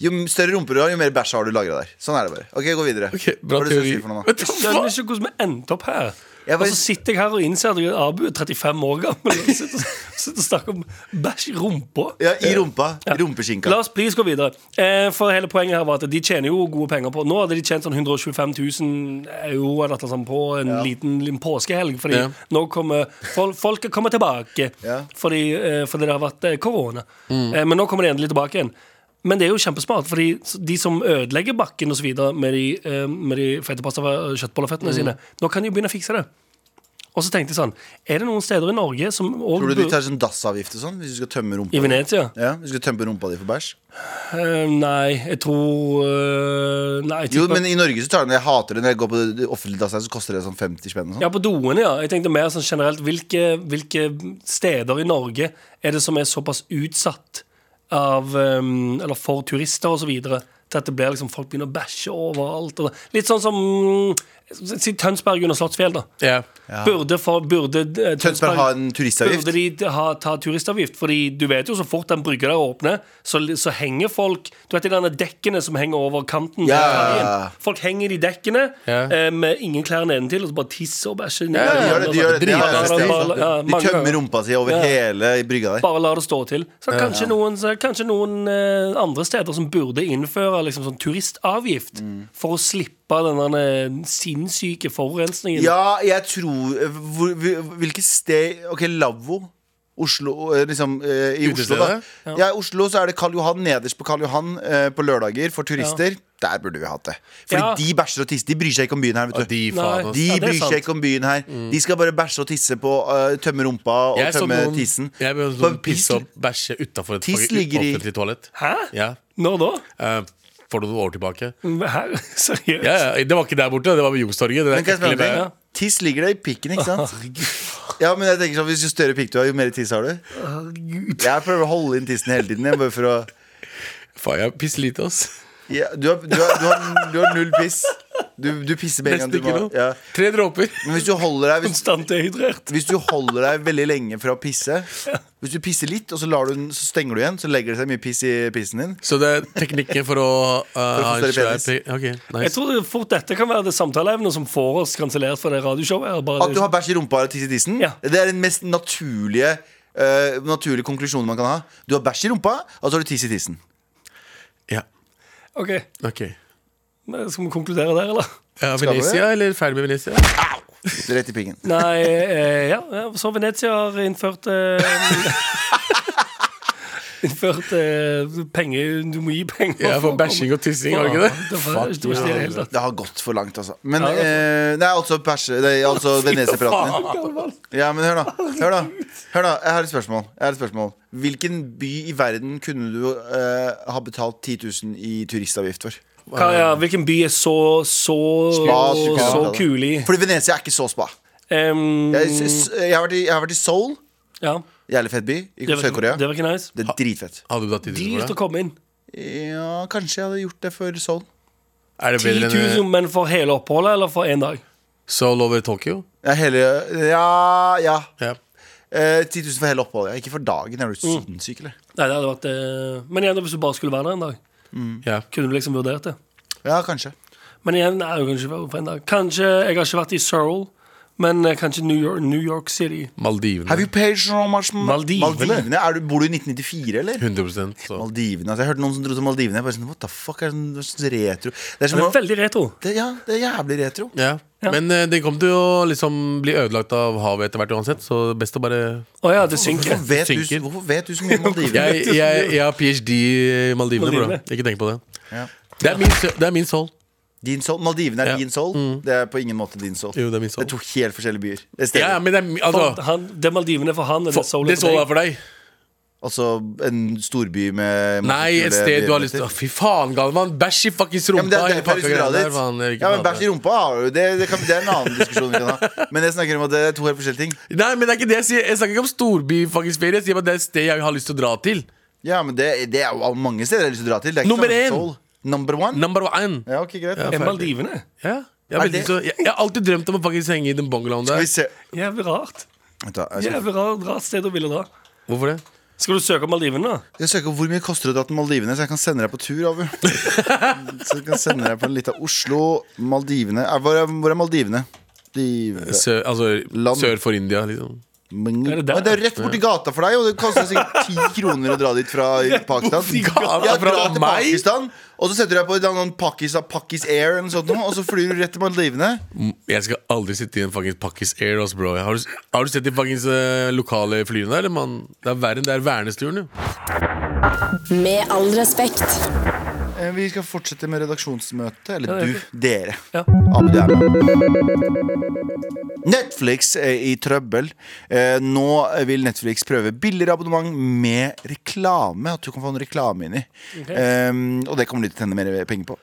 Speaker 2: Jo større rumpe du har, jo mer bæsj har du lagra der. Sånn er det bare. Ok, gå videre.
Speaker 3: Ok, bra
Speaker 2: Hva er det du skal
Speaker 3: teori.
Speaker 2: si for noe nå?
Speaker 3: Vet du
Speaker 4: skjønner
Speaker 3: hva?
Speaker 4: ikke hvordan vi endte opp her.
Speaker 2: Jeg
Speaker 4: Og
Speaker 2: bare-
Speaker 4: så sitter jeg her og innser at jeg- Abu er 35 år gammel og sitter, sitter og snakker om bæsj i rumpa.
Speaker 2: Ja, I rumpa. Rumpeskinka.
Speaker 4: La oss please gå videre. Eh, for hele poenget her var at de tjener jo gode penger på Nå hadde de tjent sånn 125 000 euro eller noe sånt på en liten, liten påskehelg. Fordi
Speaker 3: Ja.
Speaker 4: nå kommer fol Folket kommer tilbake
Speaker 2: Ja. Mm.
Speaker 4: fordi, eh, fordi det har vært eh, korona. Eh, men nå kommer de endelig tilbake igjen. Men det er jo kjempesmart, fordi s- de som ødelegger bakken og så videre med de, eh, med de fete pasta- og
Speaker 2: Mm.
Speaker 4: kjøttbollefettene sine, nå kan de jo begynne å fikse det. Og så tenkte jeg sånn Er det noen steder i Norge som
Speaker 2: Tror
Speaker 4: også
Speaker 2: du de
Speaker 4: bur-
Speaker 2: tar sånn dassavgift og sånn hvis du skal tømme rumpa?
Speaker 4: I Venezia?
Speaker 2: Ja, hvis du skal tømme rumpa di for bæsj?
Speaker 4: Eh, nei, jeg tror eh, Nei, jeg
Speaker 2: Jo,
Speaker 4: tipper-
Speaker 2: men i Norge så tar den Jeg hater det når jeg går på det offentlige dasset, så koster det sånn 50 spenn og sånn.
Speaker 4: Ja, på doene, ja. Jeg tenkte mer sånn generelt hvilke, hvilke steder i Norge er det som er såpass utsatt av um, Eller for turister og så videre til at det blir liksom folk begynner å bæsje overalt. Og litt sånn som mm, Si Tønsberg under Slottsfjell, da.
Speaker 3: Ja.
Speaker 4: Burde, for, burde eh,
Speaker 2: Tønsberg har en turistavgift.
Speaker 4: Burde de ha, ta turistavgift? Fordi du vet jo så fort den brygga der åpner, så, så henger folk Du vet de derne dekkene som henger over kanten?
Speaker 2: Ja.
Speaker 4: til ferien? Folk henger i de dekkene
Speaker 3: Ja.
Speaker 4: eh, med ingen klær nedentil, og så bare tisser og bæsjer. ned.
Speaker 2: Ja, de gjør det, de gjør det. det
Speaker 3: Drit-
Speaker 2: har jeg sett.
Speaker 4: Ja, altså. ja,
Speaker 2: De
Speaker 4: mange ganger.
Speaker 2: tømmer rumpa si over
Speaker 4: Ja.
Speaker 2: hele brygga der.
Speaker 4: Bare la det stå til. Så kanskje noen, så kanskje noen eh, andre steder som burde innføre liksom sånn turistavgift
Speaker 2: Mm.
Speaker 4: for å slippe den derne sinnssyke forurensningen.
Speaker 2: Ja, jeg tror hvor, hvil- Hvilke sted Ok, lavvo. Oslo, eh, liksom, eh, I Oslo, da.
Speaker 3: Utestedet?
Speaker 2: Ja. i Oslo så er det Karl Johan nederst på Karl Johan eh, på lørdager for turister. Der burde vi hatt det. Fordi
Speaker 4: Ja.
Speaker 2: de bæsjer og tisser. De bryr seg ikke om byen her.
Speaker 3: Og
Speaker 2: vet du
Speaker 3: de
Speaker 4: Nei.
Speaker 3: faen ass.
Speaker 2: De
Speaker 4: Ja, det er
Speaker 2: bryr
Speaker 4: sant.
Speaker 2: seg ikke om byen her. De skal bare bæsje og tisse på eh, tømme rumpa og
Speaker 3: Mm. Jeg så
Speaker 2: tømme
Speaker 3: noen,
Speaker 2: tissen.
Speaker 3: jeg ble
Speaker 2: På
Speaker 3: sånn
Speaker 2: en
Speaker 3: pisse
Speaker 2: pisse-
Speaker 3: og bæsje utafor et
Speaker 2: Tiss ligger i-
Speaker 3: offentlig toalett.
Speaker 4: Hæ?
Speaker 3: Ja.
Speaker 4: Når da?
Speaker 3: eh, for noen år tilbake.
Speaker 4: Hæ? Seriøst?
Speaker 3: Ja, ja, det var ikke der borte, det var ved Youngstorget. det der
Speaker 2: Men kan jeg spørre
Speaker 3: ekle
Speaker 2: om
Speaker 3: bæ-
Speaker 2: det? Tiss ligger det i pikken, ikke sant? Ja, men jeg tenker sånn, Hvis jo større pikk du har, jo mer tiss har du. Jeg prøver å holde inn tissen hele tiden. Jeg bare for å
Speaker 3: Faen, jeg pisser lite, ass.
Speaker 2: ja, du, har, du, har, du, har, du har null piss. Du, du pisser med en gang
Speaker 3: Nesten
Speaker 2: du
Speaker 3: ikke
Speaker 2: må.
Speaker 3: noe.
Speaker 2: Ja.
Speaker 3: Tre dråper.
Speaker 2: Men hvis du holder deg hvis,
Speaker 4: Konstant dehydrert.
Speaker 2: hvis du holder deg veldig lenge fra å pisse Hvis du pisser litt, og så, lar du den, så stenger du igjen, så legger det seg mye piss i pissen din.
Speaker 3: Så det er teknikken for å uh, ha en
Speaker 2: større
Speaker 3: svær
Speaker 2: penis.
Speaker 3: pe- Ok,
Speaker 4: Jeg
Speaker 3: nice.
Speaker 4: tror det fort dette kan være det samtaleevnet som får oss kansellert fra det radioshowet. her, bare-
Speaker 2: At du har bæsj i rumpa og tiss i tissen?
Speaker 4: Ja.
Speaker 2: Det er den mest naturlige eh, naturlige konklusjonen man kan ha. Du har bæsj i rumpa, og så har du tiss i tissen.
Speaker 3: Ja,
Speaker 4: Ok,
Speaker 3: ok
Speaker 4: men Skal vi konkludere der, eller?
Speaker 3: ja,
Speaker 2: vi
Speaker 3: Venezia, eller ferdig med Venezia?
Speaker 2: Rett i pingen.
Speaker 4: Nei, eh, ja, ja, så Venezia har innført eh, Innført eh, penger Du må gi penger
Speaker 3: Ja, for bæsjing og tissing, har du ikke det?
Speaker 4: Ja, det var det var ikke det i det hele tatt.
Speaker 2: Det har gått for langt, altså. Men eh, Nei, altså bæsje Nei, altså venezerpraten din. Ja, men hør, da. Hør, da. Hør da, Jeg har et spørsmål. Jeg har et spørsmål. Hvilken by i verden kunne du eh, ha betalt 10 000 i turistavgift for?
Speaker 4: Hva, ja, hvilken by er så så,
Speaker 2: Spa,
Speaker 4: så,
Speaker 2: spa.
Speaker 4: så kul i?
Speaker 2: Fordi Venezia er ikke så spa.
Speaker 4: Em,
Speaker 2: Jeg, s- s- jeg, har, vært i, jeg har vært i Seoul.
Speaker 4: ja,
Speaker 2: Jævlig fett by. I
Speaker 4: det var,
Speaker 2: Sør-Korea.
Speaker 4: ikke- det var ikke nice.
Speaker 2: Det er dritfett.
Speaker 3: Hadde du tatt 10 000
Speaker 4: Dyrt å
Speaker 3: for det?
Speaker 4: komme inn.
Speaker 2: Ja, kanskje jeg hadde gjort det for Seoul.
Speaker 3: Er det
Speaker 4: 10
Speaker 3: bedre
Speaker 4: 000,
Speaker 3: enn
Speaker 4: men for hele oppholdet, eller for én dag?
Speaker 3: Soul over Tokyo?
Speaker 2: Ja, hele, ja, ja.
Speaker 3: Ja.
Speaker 2: Eh, 10 000 for hele oppholdet. Ja. Ikke for dagen. Er du
Speaker 3: Mm.
Speaker 2: sinnssyk, eller?
Speaker 4: Nei, det hadde vært eh, Men igjen, da, hvis du bare skulle være der en dag,
Speaker 2: Mm.
Speaker 3: ja.
Speaker 4: kunne du liksom vurdert det.
Speaker 2: Ja, kanskje.
Speaker 4: Men igjen, nei, du kan ikke være på en dag. Kanskje, Jeg har ikke vært i Seoul, men eh, kanskje New York, New York City.
Speaker 2: Have
Speaker 3: Maldivene.
Speaker 2: you paid so much m-
Speaker 4: Maldivene.
Speaker 2: Maldivene? Er du, bor du i 1994, eller?
Speaker 3: 100 så.
Speaker 2: Maldivene, altså Jeg hørte noen som dro til Maldivene. Jeg bare sånn, What the fuck? Er det sånn- det er sånn retro Det er
Speaker 4: Det
Speaker 2: som
Speaker 4: er
Speaker 2: å-
Speaker 4: veldig retro.
Speaker 2: det, Ja, det er jævlig retro.
Speaker 3: Ja.
Speaker 4: Ja.
Speaker 3: Men eh, det kommer til å liksom bli ødelagt av havet etter hvert uansett, så det er best å bare
Speaker 4: Å ja, det synker.
Speaker 2: Hvorfor vet, du,
Speaker 3: Synker.
Speaker 2: hvorfor vet du så mye om Maldivene?
Speaker 3: Jeg, jeg, jeg har ph.d. i Maldivene, bro.
Speaker 4: Maldivene.
Speaker 3: Ikke tenk på det.
Speaker 2: Ja.
Speaker 3: Det er min, sø- det er min soul.
Speaker 2: Din soul, Maldivene er
Speaker 3: Ja. Mm.
Speaker 2: din soul. Det er på ingen måte din soul.
Speaker 3: Jo, det er min soul.
Speaker 2: Det er to helt forskjellige byer. Det er steder.
Speaker 3: Ja, ja, men det er mi- altså
Speaker 4: Han, det er Maldivene for han, og det er
Speaker 3: for,
Speaker 4: Seoul
Speaker 3: Det soul er
Speaker 4: for deg.
Speaker 3: for deg.
Speaker 2: Altså en storby med masse
Speaker 3: Nei, et
Speaker 2: kule
Speaker 3: sted du har lyst
Speaker 2: begivenheter.
Speaker 3: til Å, Fy faen, Galvan. Bæsj i fuckings
Speaker 2: Ja, men det
Speaker 3: rumpa.
Speaker 2: er derfor
Speaker 3: hele pakka
Speaker 2: jeg skulle
Speaker 3: greier
Speaker 2: dra
Speaker 3: der,
Speaker 2: dit.
Speaker 3: faen, jeg vil ikke
Speaker 2: Ja, men
Speaker 3: prate
Speaker 2: Bæsj i rumpa har du. Det, det, kan, det er en annen diskusjon vi kan ha. Men jeg snakker om at det er to helt forskjellige ting.
Speaker 3: Nei, men det er ikke det jeg sier. Jeg snakker ikke om storbyfangsferie. Jeg sier bare det er et sted jeg har lyst til å dra til.
Speaker 2: Ja, men det, det er jo mange steder jeg har lyst til å dra til. Det er ikke
Speaker 3: Nummer
Speaker 2: sånn
Speaker 3: én.
Speaker 2: Seoul. Number one?
Speaker 3: Number one.
Speaker 2: Ja, ok, greit.
Speaker 4: Er Maldivene?
Speaker 3: Ja.
Speaker 2: Er
Speaker 3: Jeg, har veldig
Speaker 2: det-
Speaker 3: lyst til å- jeg, jeg har alltid drømt om å faktisk henge i den bungalowen
Speaker 2: Skal
Speaker 3: der.
Speaker 2: vi se
Speaker 4: Jævlig rart.
Speaker 2: Vent da, jeg, skal,
Speaker 4: Jævlig rart, rart sted å ville dra.
Speaker 3: Hvorfor det?
Speaker 4: Skal du søke om Maldivene, da?
Speaker 2: jeg søker hvor mye koster det å dra til Maldivene, så jeg kan sende deg på tur. Abu. Så jeg kan sende deg på en liten Oslo, Maldivene Eh, Hvor er, hvor er Maldivene? Maldivene.
Speaker 3: Sør, altså,
Speaker 2: Land.
Speaker 3: sør for India, liksom.
Speaker 2: Men
Speaker 4: Er det
Speaker 2: det,
Speaker 4: der?
Speaker 2: er rett borti gata for deg, og det koster sikkert ti kroner å dra dit fra Pakistan.
Speaker 3: borti gata
Speaker 2: Ja,
Speaker 3: fra
Speaker 2: dra til
Speaker 3: meg?
Speaker 2: Pakistan, og så setter du deg på et eller annet Pakis, Pakis Air, eller noe sånt, og så flyr du rett til Maldivene.
Speaker 3: Jeg skal aldri sitte i en fuckings Pakkis Air, ass, bro. Har du, har du sett de fuckings eh, lokale flyene der? eller, mann? Det er verre enn det er vernesturen, jo.
Speaker 7: Med all respekt.
Speaker 2: Eh, Vi skal fortsette med redaksjonsmøte. Eller
Speaker 4: Ja,
Speaker 2: du.
Speaker 4: ja.
Speaker 2: Dere.
Speaker 4: Ja.
Speaker 2: Abu, du er med. Netflix er i trøbbel. Eh, Nå vil Netflix prøve billigere abonnement med reklame. At du kan få en reklame inni. Eh, Og det kommer de til å tjene mer penger på.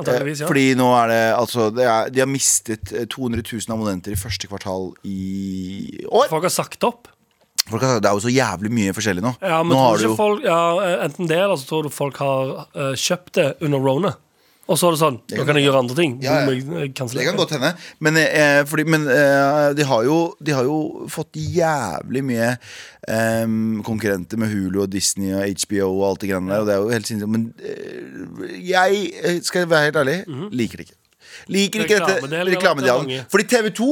Speaker 4: Antakeligvis, ja.
Speaker 2: Eh, Fordi nå er det altså det er, De har mistet eh, 200 000 abonnenter i første kvartal i år.
Speaker 4: Folk har sagt opp.
Speaker 2: Folk har sagt, det er jo så jævlig mye forskjellig nå.
Speaker 4: Ja,
Speaker 2: nå
Speaker 4: men tror
Speaker 2: har
Speaker 4: du
Speaker 2: du
Speaker 4: ikke
Speaker 2: jo
Speaker 4: folk, ja, eh, Enten det, eller så tror du folk har eh, kjøpt det under Rona. Og så er det sånn Nå kan jeg gjøre andre ting.
Speaker 2: Ja, ja.
Speaker 4: Nå må jeg, eh, kansellere.
Speaker 2: Det kan godt hende. Men, eh, fordi, men eh, de, har jo, de har jo fått jævlig mye eh, konkurrenter med Hulu og Disney og HBO og alt det greiene der. Og det er jo helt sinnssykt. Men eh, jeg, eh, skal jeg være helt ærlig, liker det ikke. Liker ikke dette
Speaker 4: Reklamedelen er
Speaker 2: reklamedialen.
Speaker 4: mange.
Speaker 2: Fordi TV2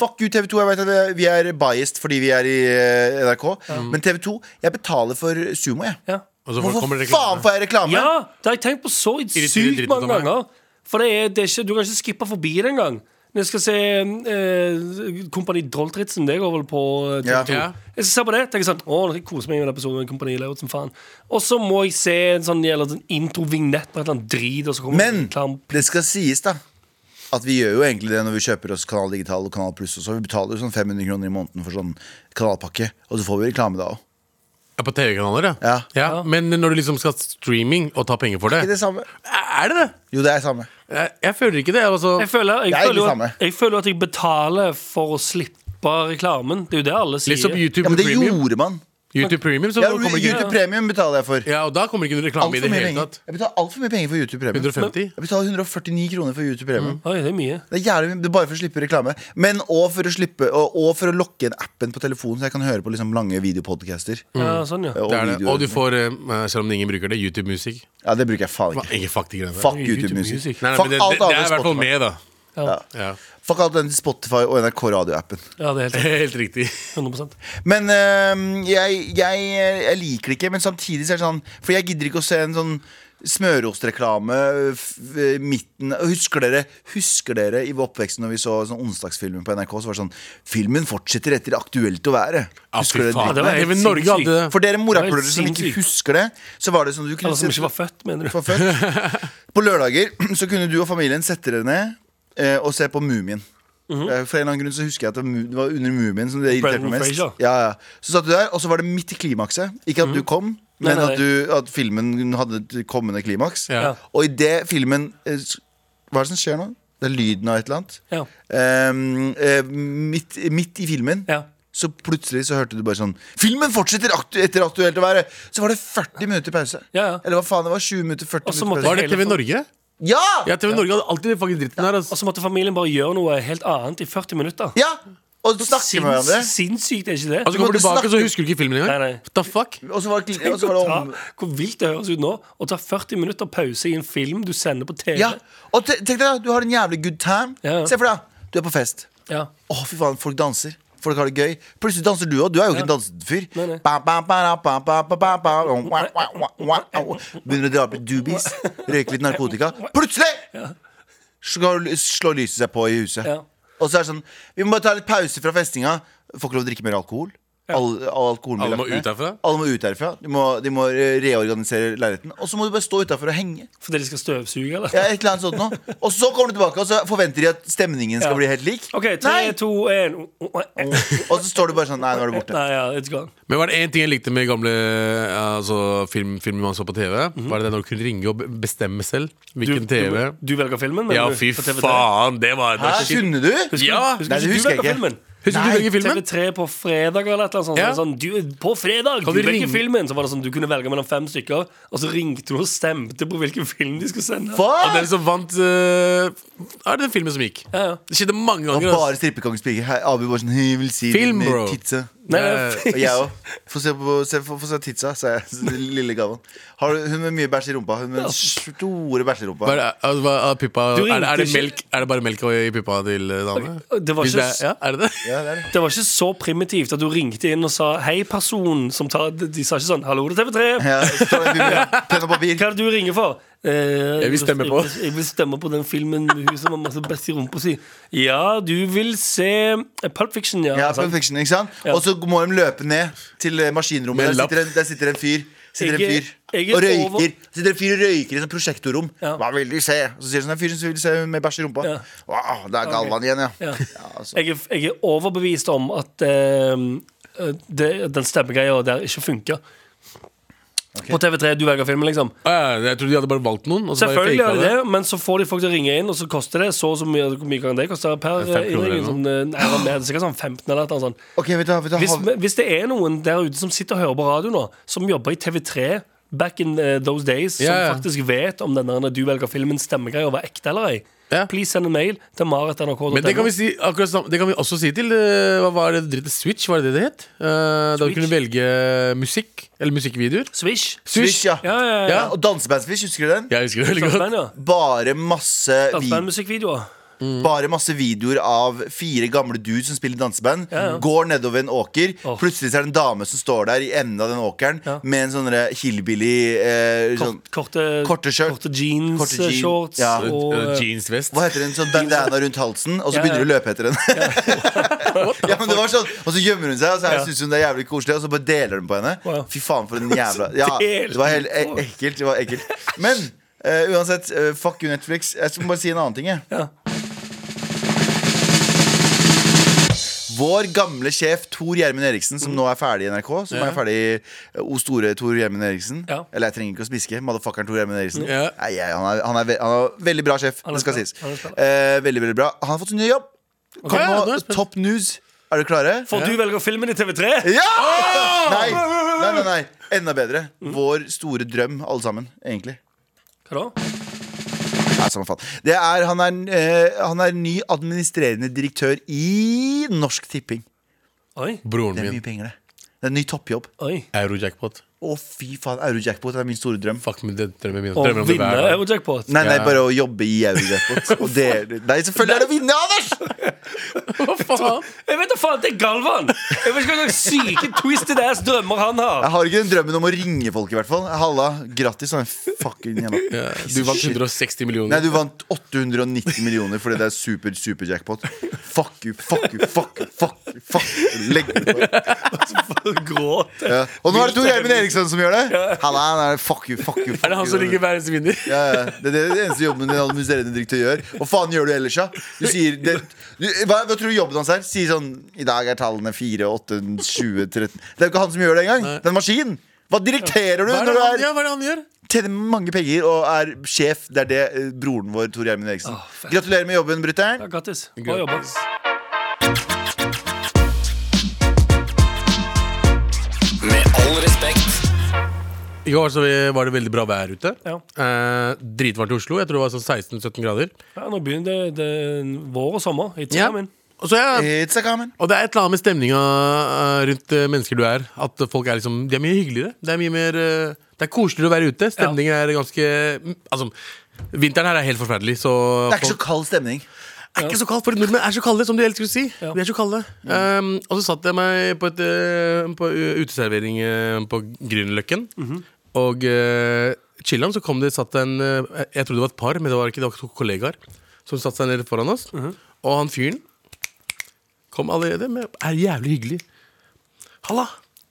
Speaker 2: Fuck you, TV2. Jeg vet at vi- vi er biased fordi vi er i eh, NRK. Men TV2 Jeg betaler for sumo, jeg.
Speaker 4: Ja.
Speaker 3: Og så
Speaker 2: Hvorfor
Speaker 3: kommer det
Speaker 2: faen
Speaker 3: reklame.
Speaker 2: får jeg reklame?
Speaker 4: ja, det har jeg tenkt på så
Speaker 3: Irriterende
Speaker 4: sykt mange
Speaker 3: dritt av meg.
Speaker 4: ganger. For det er, det er ikke, du kan ikke skippe forbi det engang. Når jeg skal se eh, Kompani Droltritzen, det går vel på eh, TV2.
Speaker 2: Ja.
Speaker 3: Ja.
Speaker 4: Jeg skal se på det, tenker sånn Å, jeg koser meg med den episoden med Kompani Lauritzen, faen. Og så må jeg se en sånn, eller en intro-vignett på et eller annet drit, og så kommer det
Speaker 2: Men
Speaker 4: reklame.
Speaker 2: det skal sies da at vi gjør jo egentlig det når vi kjøper oss Kanal Digital og Kanal Pluss. og så Vi betaler jo sånn 500 kroner i måneden for sånn kanalpakke, og så får vi reklame da òg.
Speaker 3: Ja, på TV-kanaler, ja.
Speaker 2: Ja.
Speaker 3: Men når du liksom skal ha streaming og ta penger for det,
Speaker 2: Ikke det samme?
Speaker 3: er det det?
Speaker 2: Jo, det er samme.
Speaker 3: Jeg, jeg føler ikke det. Altså.
Speaker 4: Jeg føler, jeg,
Speaker 2: Det er
Speaker 4: føler jo
Speaker 2: det
Speaker 4: at,
Speaker 2: samme.
Speaker 4: jeg føler at jeg betaler for å slippe reklamen. Det er jo det alle sier.
Speaker 3: Litt som Liksom YouTube
Speaker 2: Ja, Men det
Speaker 3: Premium.
Speaker 2: gjorde man.
Speaker 3: YouTube Premium så
Speaker 2: Ja,
Speaker 3: kommer det ikke
Speaker 2: YouTube Premium betaler jeg for.
Speaker 3: Ja, og da kommer det ikke noe reklame i
Speaker 2: Altfor
Speaker 3: det
Speaker 2: mye
Speaker 3: hele
Speaker 2: penger.
Speaker 3: tatt.
Speaker 2: Jeg betaler altfor mye penger for YouTube Premium.
Speaker 3: 150?
Speaker 2: Jeg betaler 149 kroner for YouTube Premium.
Speaker 4: Oi, det er mye.
Speaker 2: Det er jævlig mye, det er bare for å slippe reklame. Men òg for, å slippe- og, og for å lokke inn appen på telefonen, så jeg kan høre på liksom lange videopodcaster.
Speaker 4: Ja, sånn, ja.
Speaker 2: Og,
Speaker 3: Det er det. Og du
Speaker 2: videoer.
Speaker 3: får, eh, selv om ingen bruker det, YouTube-musikk.
Speaker 2: Ja, det bruker jeg faen ikke.
Speaker 3: Ikke fuck de greiene der.
Speaker 2: Fuck
Speaker 4: YouTube
Speaker 2: YouTube Music.
Speaker 4: Music.
Speaker 3: Nei, nei,
Speaker 2: Fuck
Speaker 3: men det,
Speaker 2: alt
Speaker 3: det, det er
Speaker 2: annet
Speaker 3: i hvert fall
Speaker 2: Spotify.
Speaker 3: med, da.
Speaker 4: Ja.
Speaker 3: Ja.
Speaker 2: Fuck alt den til Spotify og NRK radioappen.
Speaker 4: ja, det er
Speaker 3: Helt
Speaker 4: helt
Speaker 3: riktig.
Speaker 4: 100
Speaker 2: Men øhm, jeg, jeg, jeg liker det ikke, men samtidig så er det sånn For jeg gidder ikke å se en sånn smørostreklame f- f- midten Husker dere Husker dere i oppveksten når vi så sånn onsdagsfilmen på NRK, så var det sånn Filmen fortsetter etter Aktuelt å være.
Speaker 3: Ja,
Speaker 2: Husker
Speaker 3: fy
Speaker 2: dere
Speaker 3: faen.
Speaker 4: det
Speaker 2: dritten
Speaker 3: Det var
Speaker 4: var
Speaker 2: der?
Speaker 4: helt
Speaker 3: Even Norge
Speaker 4: sinnssykt.
Speaker 3: hadde det.
Speaker 2: For dere
Speaker 4: Det var
Speaker 2: morapulere
Speaker 4: helt
Speaker 2: som ikke
Speaker 4: sinnssykt.
Speaker 2: husker det, så var det sånn du kunne
Speaker 4: Alle som ikke
Speaker 2: se
Speaker 4: var født, mener du.
Speaker 2: for født. På lørdager så kunne du og familien sette dere ned eh, og se på Mumien.
Speaker 4: Mhm.
Speaker 2: Eh, For en eller annen grunn så husker jeg at det var mu- det var under Mumien som det irriterte
Speaker 4: Brendan
Speaker 2: meg mest.
Speaker 4: Fraser.
Speaker 2: Ja, ja. Så satt du der, og så var det midt i klimakset. Ikke at du kom,
Speaker 4: Mhm. Nei,
Speaker 2: men
Speaker 4: nei,
Speaker 2: at, du, at filmen hadde et kommende klimaks.
Speaker 3: Ja.
Speaker 2: Og i det filmen eh, s- Hva er det som skjer nå? Det er lyden av et eller annet.
Speaker 4: Ja.
Speaker 2: Ehm, eh, midt, midt i filmen
Speaker 4: Ja.
Speaker 2: så plutselig så hørte du bare sånn Filmen fortsetter aktu etter aktuelt å være! Så var det 40 minutter pause.
Speaker 4: Ja, ja.
Speaker 2: Eller hva faen, det var 20 minutter, 40
Speaker 4: Og
Speaker 2: minutter
Speaker 4: så
Speaker 2: pause.
Speaker 4: måtte-
Speaker 3: Var det TV Norge?
Speaker 2: Ja!
Speaker 3: Ja, TV Norge hadde alltid den fucking dritten her.
Speaker 4: Og
Speaker 3: Altså.
Speaker 4: så måtte familien bare gjøre noe helt annet i 40 minutter.
Speaker 2: ja! Og snakke med hverandre.
Speaker 4: Sinns, sinnssykt, er ikke det?
Speaker 3: Altså, kommer
Speaker 2: måtte
Speaker 3: du tilbake,
Speaker 2: snakke-
Speaker 3: så husker du ikke filmen engang.
Speaker 4: Nei, nei.
Speaker 3: What the fuck?
Speaker 2: Og så var det, og
Speaker 4: Tenk
Speaker 2: så var det
Speaker 4: å ta,
Speaker 2: altså, om
Speaker 4: hvor vilt det høres ut nå å ta 40 minutter pause i en film du sender på TV.
Speaker 2: Ja. Og te- tenk deg, da, du har en jævlig good time.
Speaker 4: Ja.
Speaker 2: Se for deg, da, du er på fest.
Speaker 4: Ja.
Speaker 2: Å, fy faen, folk danser. Folk har det gøy. Plutselig danser du òg. Du er jo ikke en dansefyr.
Speaker 4: Nei, nei.
Speaker 2: Ba, ba, ba, da, ba, ba, ba, ba, ba, wa, wa, wa, wa, wa. Begynner å dra på doobies, røyke litt narkotika. Plutselig skal- slår lyset seg på i huset.
Speaker 4: Ja.
Speaker 2: Og så er det sånn Vi må bare ta litt pause fra festinga. Får ikke lov å drikke mer alkohol. All, all alkoholen blir
Speaker 3: Alle må
Speaker 2: lagt ned.
Speaker 3: ut herfra.
Speaker 2: Alle må ut herfra. De må, de må eh, reorganisere leiligheten. Og så må du bare stå utafor og henge.
Speaker 4: Fordi de skal støvsuge, eller?
Speaker 2: Ja, et eller annet sånt nå. Og så kommer du tilbake, og så forventer de at stemningen skal
Speaker 4: Ja.
Speaker 2: bli helt lik.
Speaker 4: OK, tre,
Speaker 2: Nei!
Speaker 4: to, én
Speaker 2: Og så står du bare sånn Nei, nå er det borte.
Speaker 4: Nei, ja, it's gone.
Speaker 3: Men var det én ting jeg likte med gamle altså, film, filmer man så på TV? Var det det når du kunne ringe og be- bestemme selv hvilken TV?
Speaker 4: Du, du velger filmen? men
Speaker 3: ja,
Speaker 4: du-
Speaker 3: fy
Speaker 4: på TV3.
Speaker 3: faen! Det var
Speaker 2: Hæ,
Speaker 3: det shit.
Speaker 2: kunne du?
Speaker 3: Ja!
Speaker 4: Husker,
Speaker 2: Nei, det husker
Speaker 4: ikke
Speaker 2: jeg
Speaker 4: du velger
Speaker 2: ikke.
Speaker 4: filmen?
Speaker 3: Husker du
Speaker 2: Nei,
Speaker 3: hvilken film?
Speaker 4: TV3 på fredag eller et eller annet sånt. så
Speaker 3: Ja.
Speaker 4: var det Sånn, du, på fredag!
Speaker 3: Kan
Speaker 4: du
Speaker 3: du
Speaker 4: velger
Speaker 3: ringe-
Speaker 4: filmen! Så var det sånn, du kunne velge mellom fem stykker, og så ringte du og stemte på hvilken film de skulle sende.
Speaker 3: Og den
Speaker 2: Fuck!
Speaker 3: som vant øh, Er det den filmen som gikk?
Speaker 4: Ja, ja.
Speaker 3: Det skjedde mange
Speaker 2: Og
Speaker 3: ganger. altså.
Speaker 2: bare
Speaker 3: ass.
Speaker 2: strippekongens pike. Hei, Abu bare sånn Jeg vil si
Speaker 3: Film,
Speaker 2: din, eh,
Speaker 3: bro.
Speaker 2: titse.
Speaker 4: Nei,
Speaker 3: Eh,
Speaker 2: Og jeg òg. Få se, på- se, få- få se titsa, sa jeg. Så den Lille gaven. Har du- Hun med mye bæsj i rumpa. Hun med den store
Speaker 3: Hva er
Speaker 2: bæsjerumpa.
Speaker 3: det- altså, hva er pippa,
Speaker 4: Du
Speaker 3: er, det, er, det
Speaker 4: ringte
Speaker 3: melk, er det bare melk i pippa til eh, damene?
Speaker 4: det var
Speaker 3: Hvis
Speaker 4: ikke
Speaker 3: det er, ja, er det det?
Speaker 2: Ja, det er det.
Speaker 4: Det var ikke så primitivt at du ringte inn og sa 'hei, person'. Som tar, de, de sa ikke sånn 'hallo, det er TV3'.
Speaker 2: Ja, så står det en bibel- penn og papir.
Speaker 4: Hva er det du ringer for? Eh,
Speaker 3: Jeg vil stemme på.
Speaker 4: Jeg, vil stemme på den filmen med hun som har masse best i rumpa si. Ja, du vil se eh, Pulp Fiction, ja.
Speaker 2: Ja,
Speaker 4: sant?
Speaker 2: Perfection, ikke sant? Og så må de løpe ned til eh, maskinrommet.
Speaker 3: Med
Speaker 2: Der
Speaker 3: en lapp.
Speaker 2: sitter, en, der sitter en fyr. sitter en
Speaker 4: Jeg er-
Speaker 2: fyr
Speaker 4: jeg er
Speaker 2: og røyker.
Speaker 4: over-
Speaker 2: Sitter en fyr og røyker i sånn prosjektorrom.
Speaker 4: Ja.
Speaker 2: Hva vil de se? Så sier sånn en fyr som vil se med bæsj i rumpa.
Speaker 4: Ja.
Speaker 2: Wow, det er Galvan igjen, ja.
Speaker 4: Ja.
Speaker 2: Ja, altså.
Speaker 4: Jeg, er, jeg er overbevist om at eh, det, den stemmegreia der ikke funker. På TV3, du velger film, liksom.
Speaker 3: Ah, ja, jeg trodde de hadde bare valgt noen. Og så bare
Speaker 4: Selvfølgelig er
Speaker 3: faket
Speaker 4: det det, men så får de folk til å ringe inn, og så koster det så og så mye, hvor mye kan det koste per
Speaker 3: Det er fem
Speaker 4: eh,
Speaker 3: kroner
Speaker 4: innringning.
Speaker 3: eller
Speaker 4: Som, det- nei, det er mer, det er sikkert sånn 15 eller noe sånt.
Speaker 2: Ok, vet du, hva, vet du, hva,
Speaker 4: Hvis,
Speaker 2: hav-
Speaker 4: hvis det er noen der ute som sitter og hører på radio nå, som jobber i TV3 back in eh, those days, som
Speaker 3: Ja, ja.
Speaker 4: faktisk vet om den der du velger filmen stemmegreier var ekte eller ei,
Speaker 3: Ja.
Speaker 4: please send en mail til marit.nrk.no.
Speaker 3: Men det kan, vi si, akkurat, sam- det kan vi også si til eh, Hva var det dritt? Switch, var det det det het? Eh, da du
Speaker 4: Switch.
Speaker 3: kunne velge musikk, eller musikkvideoer.
Speaker 4: Swish.
Speaker 2: Swish, ja.
Speaker 4: Ja, ja, ja.
Speaker 2: Ja, Og Dansebandsfish, husker du den?
Speaker 3: Jeg husker det veldig godt.
Speaker 4: Dansband, ja. Sånn
Speaker 2: Bare masse, vi,
Speaker 4: Dansbandmusikkvideoer.
Speaker 2: bare masse videoer av fire gamle dudes som spiller danseband.
Speaker 4: Ja, ja.
Speaker 2: Går nedover en åker.
Speaker 4: Åh.
Speaker 2: Plutselig så er det en dame som står der i enden av den åkeren
Speaker 4: Ja.
Speaker 2: med en sånn der hillbilly eh, sånn,
Speaker 4: Kort, korte,
Speaker 2: Korte skjørt.
Speaker 4: korte jeans,
Speaker 2: Korte jean-
Speaker 4: shorts
Speaker 2: ja.
Speaker 4: og
Speaker 3: Eh,
Speaker 4: eh,
Speaker 3: Jeansvest.
Speaker 2: Hva heter den? Sånn bandana rundt halsen, og så
Speaker 4: Ja, ja.
Speaker 2: begynner du å løpe etter den. ja, men det var sånn Og så gjemmer hun seg, og så
Speaker 4: Ja.
Speaker 2: her syns hun det er jævlig koselig, og så bare deler den på henne.
Speaker 4: Wow.
Speaker 2: Fy faen, for en jævla Ja,
Speaker 4: deler
Speaker 2: det var helt
Speaker 4: den på.
Speaker 2: e ekkelt. Det var ekkelt. Men eh, uansett, eh, fuck you, Netflix. Jeg skal bare si en annen ting, jeg.
Speaker 4: Ja.
Speaker 2: Vår gamle sjef Tor Gjermund Eriksen,
Speaker 4: Mm.
Speaker 2: som nå er ferdig i NRK. Som er ferdig eh, O store Tor Gjermund Eriksen.
Speaker 4: Ja.
Speaker 2: Eller jeg trenger ikke å smiske. Motherfuckeren Tor Gjermund Eriksen.
Speaker 3: Ja.
Speaker 2: Nei, jeg- han, er, han, er, ve- han er veldig bra sjef.
Speaker 4: Han er
Speaker 2: Det skal
Speaker 4: bra.
Speaker 2: sies.
Speaker 4: Han er bra.
Speaker 2: Eh, veldig, veldig bra. Han har fått sin nye jobb. Kom
Speaker 3: Ja, nå er
Speaker 2: nå,
Speaker 3: jeg spent.
Speaker 2: Top news. Er du klare?
Speaker 4: For du velger filmen i TV3?
Speaker 2: Ja! Nei. nei, nei, nei. Enda bedre. Vår store drøm, alle sammen. Egentlig.
Speaker 4: Hva da?
Speaker 2: Nei, samme faen. Det er, han, er, eh, han er ny administrerende direktør i Norsk Tipping.
Speaker 4: Oi.
Speaker 3: Broren
Speaker 2: Det er
Speaker 3: min.
Speaker 2: mye penger, det. Det er en ny toppjobb.
Speaker 4: Oi.
Speaker 3: Eurojackpot.
Speaker 2: Å, fy faen. Eurojackpot er min store drøm.
Speaker 3: Fuck med det drømmen min.
Speaker 4: Å
Speaker 3: Drømmer om det
Speaker 4: vinne
Speaker 3: hver dag.
Speaker 4: Eurojackpot.
Speaker 2: Nei, nei,
Speaker 3: Ja.
Speaker 2: bare å jobbe i Eurojackpot. Og det, nei, selvfølgelig er det å vinne, Anders!
Speaker 3: Hva faen?
Speaker 4: Jeg vet da faen, det er Galvan! Jeg vet ikke hva slags syke twisted ass drømmer han har.
Speaker 2: Jeg har ikke den drømmen om å ringe folk, i hvert fall. Halla, grattis. sånn fucking jævla
Speaker 3: Ja, du vant 160 millioner.
Speaker 2: Nei, du vant 890 millioner fordi det er super, super jackpot. Fuck you, fuck you, fuck you, fuck you. Fuck you. Legg deg på.
Speaker 4: Gråt.
Speaker 2: Ja. Og nå er det Tor Gjermund Eriksson som gjør det. Halla, nei, fuck you, fuck you. Fuck
Speaker 3: Er det han som
Speaker 2: you.
Speaker 3: ligger hver eneste vinner?
Speaker 2: Ja, ja. Det er det det eneste jobben en administrerende direktør gjør. Hva faen gjør du ellers, da? Du sier det, du, hva, hva tror du jobben hans er? Sier sånn I dag er tallene 4, 8, 20, 13 Det er jo ikke han som gjør det engang. Det er en maskin. Hva direkterer du
Speaker 3: Hva er
Speaker 2: når
Speaker 3: det
Speaker 2: du
Speaker 3: han,
Speaker 2: er
Speaker 3: ja, hva er det han gjør?
Speaker 2: tjener mange penger og er sjef? Det er det eh, broren vår, Tor Gjermund Eriksen. Gratulerer med jobben, brutter'n.
Speaker 4: Ja, Grattis. Bra jobba.
Speaker 5: Med all respekt.
Speaker 3: I går så altså, var det veldig bra vær ute.
Speaker 4: Ja.
Speaker 3: Eh, dritvarmt i Oslo. Jeg tror det var sånn 16-17 grader.
Speaker 4: Ja, nå begynner det, det vår og sommer i tida min.
Speaker 3: Og, så er,
Speaker 2: It's a common.
Speaker 3: og det er et eller annet med stemninga eh, rundt eh, mennesker du er. At folk er liksom De er mye hyggeligere. Det er mye mer eh, Det er koseligere å være ute. Stemningen er ganske mm, Altså, vinteren her er helt forferdelig, så
Speaker 2: Det er ikke så kald stemning.
Speaker 3: Det er ikke så kaldt, for nordmenn er så kalde, som du helst skulle si.
Speaker 4: Ja.
Speaker 3: De
Speaker 4: Mm.
Speaker 3: er så kalde. Um, og så satt jeg meg på, et, uh, på u- uteservering uh, på Grünerløkken.
Speaker 4: Mhm.
Speaker 3: Og uh, chillan, så kom det satt en uh, Jeg trodde det var et par, men det var ikke det var to kollegaer. Som satte seg ned foran oss.
Speaker 4: Mhm.
Speaker 3: Og han fyren kom allerede med Er jævlig hyggelig. Halla!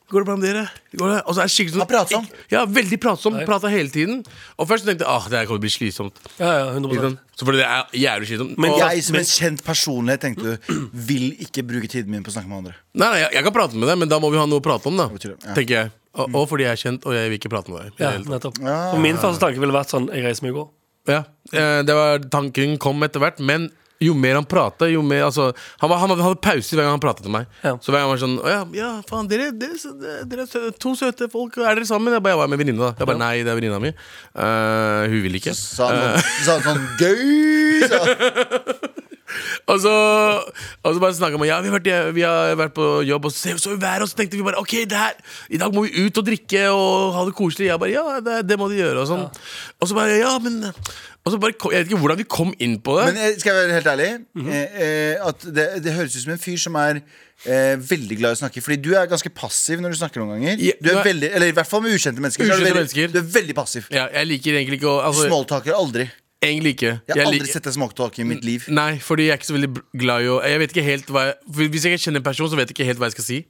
Speaker 3: Går det bra med dere? Går det? Og så er det skikkelig sånn
Speaker 2: Han pratsom.
Speaker 3: Ja, veldig pratsom.
Speaker 4: Nei.
Speaker 3: Prata hele tiden. Og først tenkte jeg ah, det her kommer til å bli slitsomt.
Speaker 4: Ja, ja,
Speaker 3: Ikke
Speaker 4: 100
Speaker 3: sant? Så fordi det er jævlig slitsomt.
Speaker 4: Men
Speaker 3: Og-
Speaker 2: Jeg som en kjent personlighet tenkte du vil ikke bruke tiden min på å snakke med andre.
Speaker 3: Nei, nei, jeg, jeg kan prate med deg, men da må vi ha noe å prate om, da.
Speaker 2: betyr det? Ja.
Speaker 3: Tenker jeg. Og, og fordi jeg er kjent, og jeg vil ikke prate med deg. i det
Speaker 4: Ja,
Speaker 3: hele tatt.
Speaker 4: nettopp. Og min første tanke ville vært sånn Jeg reiser meg i går.
Speaker 3: Ja. Eh, Det var Tanken kom etter hvert, men jo mer han prata, jo mer altså, han, var, han hadde hadde pause hver gang han pratet til meg.
Speaker 4: Ja.
Speaker 3: Så hver gang han var sånn Å ja, ja faen, dere, dere, er sø- dere er sø- to søte folk. Er dere sammen? Jeg bare, jeg var med venninna, da. Jeg bare, Nei, det er venninna mi. Eh, hun vil ikke.
Speaker 2: Sa han sånn, sa han sånn gøy sa. han.
Speaker 3: Og så, og så bare snakka man Ja, vi har, vært, vi har vært på jobb, og så så vi været, og så tenkte vi bare OK, det her, i dag må vi ut og drikke og ha det koselig. Jeg bare Ja, det, det må de gjøre, og sånn. Og så bare Ja, men Og så bare kom- Jeg vet ikke hvordan vi kom inn på det.
Speaker 2: Men eh, skal jeg være helt ærlig? eh, eh, At det, det høres ut som en fyr som er eh, veldig glad i å snakke. Fordi du er ganske passiv når du snakker noen ganger.
Speaker 3: Ja,
Speaker 2: Du er
Speaker 3: nei.
Speaker 2: veldig, eller i hvert fall med ukjente mennesker. så er du
Speaker 3: Ukjente
Speaker 2: veldig,
Speaker 3: mennesker.
Speaker 2: Du er veldig passiv.
Speaker 3: ja, jeg liker egentlig ikke å altså,
Speaker 2: Smalltalker aldri.
Speaker 3: Egentlig ikke.
Speaker 2: Jeg har aldri
Speaker 3: liker-
Speaker 2: sett deg småtalke i mitt liv.
Speaker 3: Nei, fordi jeg er ikke så veldig br- glad i å Jeg vet ikke helt hva jeg, for Hvis jeg ikke kjenner en person, så vet jeg ikke helt hva jeg skal si.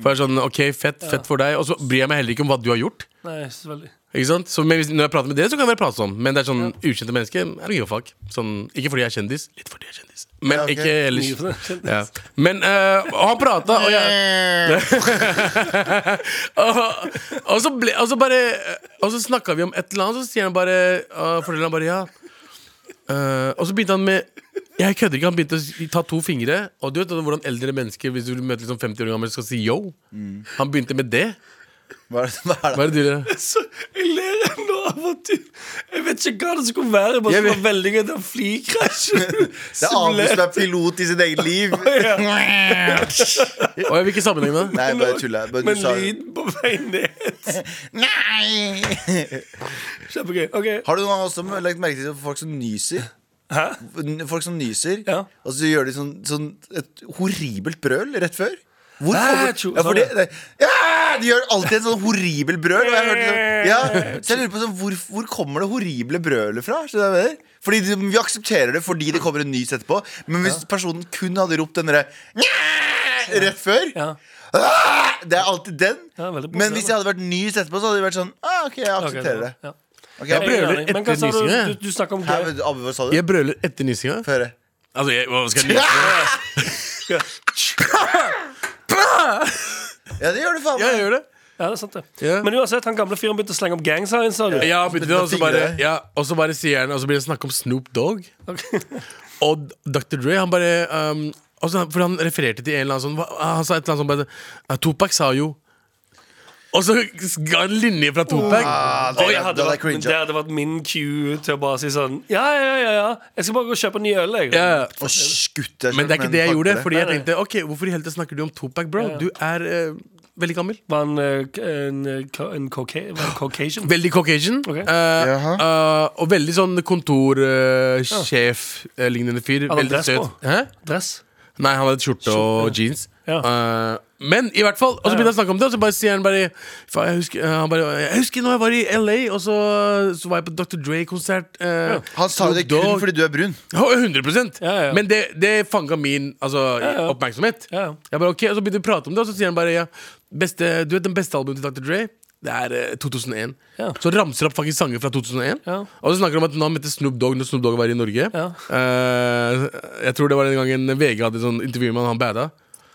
Speaker 3: For det er sånn, ok, fett, fett for deg Og så bryr jeg meg heller ikke om hva du har gjort.
Speaker 4: Nei, så veldig.
Speaker 3: Ikke sant? Så men hvis, Når jeg prater med dere, så kan det være pratsom. Men det er sånn ukjente mennesker. I don't give a fuck. Sånn, ikke fordi jeg er kjendis, litt fordi jeg er kjendis. Men
Speaker 2: Ja, ok.
Speaker 3: ikke ellers. Ja. Men eh, og han prata, og jeg og, og, så ble, og så bare Og så snakka vi om et eller annet, så sier han bare uh, forteller han bare ja. Eh, og så begynte han med Jeg kødder ikke, han begynte å si- ta to fingre. Og du vet hvordan eldre mennesker Hvis du møter liksom 50 år gamle, skal si yo.
Speaker 2: Mm.
Speaker 3: Han begynte med det.
Speaker 2: Hva er det, hva er det?
Speaker 3: Hva er det du gjør?
Speaker 4: Så jeg ler ennå av at du Jeg vet ikke hva det skulle være, bare
Speaker 2: Jeg
Speaker 4: så
Speaker 2: vet-
Speaker 4: var veldig gøy den flykrasjen.
Speaker 2: Det er Abel som er pilot i sitt eget liv.
Speaker 3: Og jeg vil ikke sammenligne det.
Speaker 2: Nei, bare tulla. Bare du
Speaker 4: Men
Speaker 2: sa
Speaker 4: lyd på vei ned.
Speaker 2: Nei!
Speaker 4: Kjempegøy. Ok.
Speaker 2: Har du noen gang også lagt merke til folk som nyser?
Speaker 4: Hæ?
Speaker 2: N- Folk som nyser,
Speaker 4: Ja.
Speaker 2: og så gjør de sånn, sånn et horribelt brøl rett før. Hvor
Speaker 4: Æ,
Speaker 2: kommer-
Speaker 4: tjo,
Speaker 2: ja, for det,
Speaker 4: sånn,
Speaker 2: det, ja, de gjør alltid en sånn horribel brøl. Og jeg hørte sånn, ja, så jeg lurer på sånn, hvor, hvor kommer det horrible brølet fra? Skjønner du hva jeg mener? Fordi de, Vi aksepterer det fordi det kommer en nys etterpå, men hvis personen kun hadde ropt den derre «Nja!» rett før
Speaker 4: Ja.
Speaker 2: «Æ!» Ah! Det er alltid den.
Speaker 4: Ja, veldig
Speaker 2: men hvis det hadde vært nys etterpå, så hadde det vært sånn ah, OK, jeg
Speaker 4: Ok,
Speaker 2: aksepterer det.
Speaker 4: Ja.
Speaker 2: Ok, jeg
Speaker 4: Jeg er
Speaker 3: brøler
Speaker 4: enig. Men hva
Speaker 3: etter
Speaker 4: sa du?
Speaker 3: nysingen, jeg.
Speaker 4: Du, du snakker om
Speaker 2: Hæ,
Speaker 4: det.
Speaker 2: men Abbe, hva sa du?
Speaker 3: Jeg brøler etter nysinga.
Speaker 2: Få høre.
Speaker 3: Altså, jeg, hva skal jeg nyse?
Speaker 2: Ja, det gjør du faen
Speaker 3: Ja,
Speaker 2: meg.
Speaker 3: jeg gjør det.
Speaker 4: Ja, det er sant, det.
Speaker 3: Ja.
Speaker 4: Men uansett, han gamle fyren begynte å slenge opp gangs her, sa du.
Speaker 3: Ja, begynte det, og så
Speaker 2: Fingre.
Speaker 3: bare, ja, og så bare sier han Og så blir det snakk om Snoop Dogg. Og Dr. Dre, han bare um, og så- For han refererte til en eller annen sånn hva- Han sa et eller annet sånn bare «Ja, Tupac sa jo Og så ga han linje fra Tupac.
Speaker 2: Ah, det-
Speaker 3: og
Speaker 4: Jeg
Speaker 3: jeg
Speaker 4: hadde
Speaker 2: Da hadde jeg
Speaker 4: vært, men
Speaker 2: cringet.
Speaker 4: det hadde vært min cue til å bare si sånn Ja, ja, ja, ja. jeg skal bare gå og kjøpe en ny øl. Jeg.
Speaker 3: ja,
Speaker 2: Og skutt deg selv,
Speaker 3: men det er ikke det jeg gjorde.
Speaker 2: takler
Speaker 3: Fordi jeg tenkte OK, hvorfor i helvete snakker du om Tupac, bro? Du er eh, veldig gammel.
Speaker 4: Var han eh, k- en, eh, ca- en, coca var han caucasian?
Speaker 3: Veldig caucasian.
Speaker 4: Ok.
Speaker 3: eh, eh, og veldig sånn eh, kontorsjef-lignende eh, fyr.
Speaker 4: Hadde han
Speaker 3: Veldig
Speaker 4: dress
Speaker 3: søt.
Speaker 4: på?
Speaker 3: Hæ?
Speaker 4: Dress?
Speaker 3: Nei, han hadde skjorte og jeans.
Speaker 4: Ja.
Speaker 3: Eh, men i hvert fall, og så begynte jeg å snakke om det, og så bare sier han bare, faen, jeg husker, eh, han bare Jeg husker når jeg var i LA, og så, så var jeg på Dr. Dre-konsert. eh,
Speaker 2: Han sa jo det kun
Speaker 3: Dogg.
Speaker 2: fordi du er brun.
Speaker 3: Ja, 100
Speaker 4: Ja, ja.
Speaker 3: Men det, det fanga min altså,
Speaker 4: ja.
Speaker 3: oppmerksomhet.
Speaker 4: Ja, ja.
Speaker 3: Jeg bare, ok, og Så begynte vi å prate om det, og så sier han bare ja, beste, Du vet den beste albumet til Dr. Dre? Det er eh, 2001.
Speaker 4: Ja.
Speaker 3: Så ramser han opp faktisk sanger fra 2001.
Speaker 4: Ja.
Speaker 3: Og så snakker han om at han møtte Snoop Dogg når Snoop Dogg var i Norge.
Speaker 4: Ja.
Speaker 3: Eh, jeg tror det var den gangen VG hadde sånn intervju med han, han bada.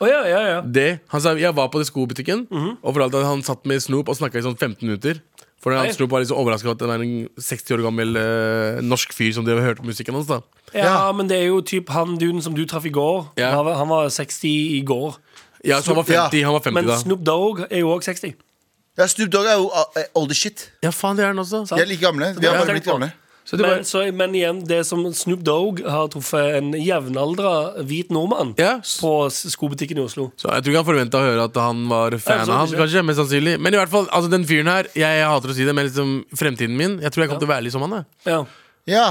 Speaker 4: Å ja, ja, ja.
Speaker 3: Det, han sa jeg var på det skobutikken,
Speaker 4: Mhm.
Speaker 3: og fortalte at han satt med Snoop og snakka i sånn 15 minutter. For han
Speaker 4: Nei.
Speaker 3: Snoop var liksom overraska over at det var en 60 år gammel eh, norsk fyr som drev og hørte på musikken hans. da
Speaker 4: Ja, men det er jo typ han duden som du traff i går.
Speaker 3: Ja.
Speaker 4: Han, var, han var 60 i går.
Speaker 3: Ja, så han var
Speaker 2: Snoop-
Speaker 3: 50, han var 50
Speaker 4: Men
Speaker 3: da
Speaker 4: Snoop Dogg er jo òg 60.
Speaker 2: Ja, Snoop Dogg er jo uh, old as shit.
Speaker 3: Ja, faen, det er han også
Speaker 2: De er like gamle. De har
Speaker 4: Ja,
Speaker 2: bare
Speaker 4: tenk
Speaker 2: blitt
Speaker 4: på
Speaker 2: gamle.
Speaker 3: Så det
Speaker 4: Men,
Speaker 3: var,
Speaker 4: så, men igjen, det som Snoop Dogg har truffet en jevnaldra hvit nordmann
Speaker 3: Ja.
Speaker 4: på s- skobutikken i Oslo.
Speaker 3: så jeg tror ikke han forventa å høre at han var fan
Speaker 4: Ja, så
Speaker 3: av han,
Speaker 4: ikke.
Speaker 3: kanskje, mest sannsynlig Men i hvert fall, altså den fyren her, jeg, jeg hater å si det, men liksom fremtiden min Jeg tror jeg kommer til å være litt som han, jeg.
Speaker 4: Ja.
Speaker 2: Ja.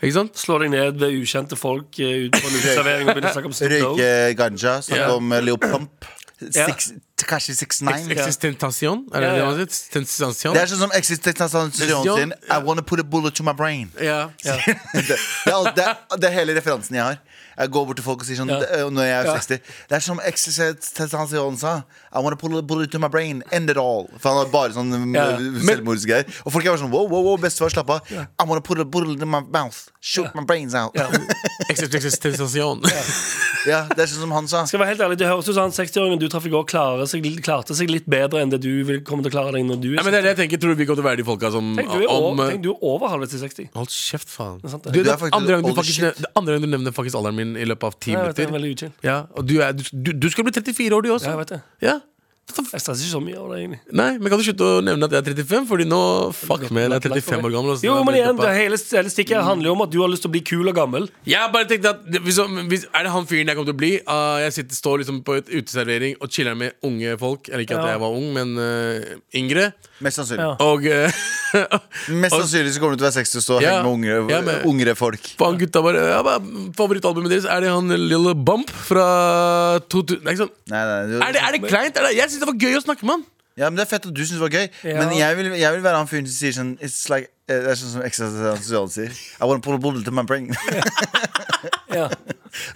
Speaker 3: Ikke sant?
Speaker 4: Slå deg ned ved ukjente folk eh, ute på en uteservering og begynne å snakke om Snoop Dogg.
Speaker 2: Røyke ganja. Snakke
Speaker 3: Ja.
Speaker 2: om uh, Leo Plump.
Speaker 4: Ja.
Speaker 2: Six, Tekashi 69.
Speaker 3: Existentation, er det
Speaker 4: Ja,
Speaker 3: det
Speaker 4: ja.
Speaker 3: man sier? Existentation?
Speaker 2: Det er sånn som eksistensen sin. I wanna put a bullet to my brain.
Speaker 3: Ja.
Speaker 2: Det, det, er, alt- det, er, det er hele referansen jeg har. Jeg går bort til folk og sier sånn
Speaker 4: Ja.
Speaker 2: det- når jeg er
Speaker 4: Ja.
Speaker 2: 60. Det er som eksistensen sa. I wanna put a bullet to my brain. End it all. For han har bare sånn
Speaker 4: Ja.
Speaker 2: mm, selvmordsgreier. Og folk er bare sånn wow, wow, wow, bestefar, slapp av. I wanna put a bullet in my mouth. Shoot my brains out.
Speaker 4: Ja.
Speaker 3: Exist- Existentation.
Speaker 2: Ja, det er sånn som han sa.
Speaker 4: Skal jeg være helt ærlig, Det høres ut som han 60-åringen du traff i går, klarer seg, klarte seg litt bedre enn det du vil komme til å klare deg når du
Speaker 3: Nei,
Speaker 4: er
Speaker 3: men det er det jeg tenker, tror du vi kommer til å være de folka som
Speaker 4: Tenk, du er
Speaker 3: om,
Speaker 4: over,
Speaker 3: eh,
Speaker 4: tenk, du er over halvveis til 60.
Speaker 3: Hold kjeft, faen.
Speaker 4: er sant,
Speaker 3: Du, det,
Speaker 4: det.
Speaker 2: Du er
Speaker 3: er
Speaker 2: faktisk
Speaker 3: andre gang du
Speaker 2: old as
Speaker 3: faktisk,
Speaker 2: shit.
Speaker 3: nev- det er andre gang du nevner faktisk alderen min i løpet av ti
Speaker 4: Ja, jeg vet, det er
Speaker 3: minutter.
Speaker 4: veldig uchill.
Speaker 3: Ja, og du, er, du, du, du skal bli 34 år, du også.
Speaker 4: Ja, jeg vet det.
Speaker 3: Ja.
Speaker 4: Jeg stresser ikke så mye over det, egentlig.
Speaker 3: Nei, men kan du slutte å nevne at jeg er 35? Fordi nå, fuck meg, jeg er 35 år gammel. og så
Speaker 4: Jo,
Speaker 3: er jeg
Speaker 4: men
Speaker 3: blitt
Speaker 4: igjen, det
Speaker 3: pappa.
Speaker 4: hele, hele stikket her handler jo om at du har lyst til å bli kul og gammel.
Speaker 3: Jeg bare tenkte at det- hvis, hvis, Er det han fyren jeg kommer til å bli? Ah, jeg sitter, står liksom på et uteservering og chiller med unge folk. Eller ikke at
Speaker 4: Ja.
Speaker 3: jeg var ung, men eh, yngre.
Speaker 2: Mest sannsynlig.
Speaker 4: Ja.
Speaker 3: Og eh,
Speaker 2: Mest sannsynlig så kommer du til å være 60 og stå og
Speaker 3: Ja.
Speaker 2: henge med unge,
Speaker 3: Ja, men-
Speaker 2: ungere folk.
Speaker 3: faen, gutta bare, ja, bare Favorittalbumet deres, er det han Lille Bump fra 2000? Nei, ikke sant?
Speaker 2: Nei, nei, du,
Speaker 3: Er det, er det
Speaker 4: sånn-
Speaker 3: kleint? Er det, jeg syns det var gøy å snakke med han.
Speaker 2: Ja, men Det er fett at du syns det var gøy,
Speaker 4: Ja.
Speaker 2: men jeg vil, jeg vil være han fyren som sier sånn It's like Eh, Det er sånn som eksistensialen sier. I want to pull a bullet to my brain.
Speaker 4: Ja.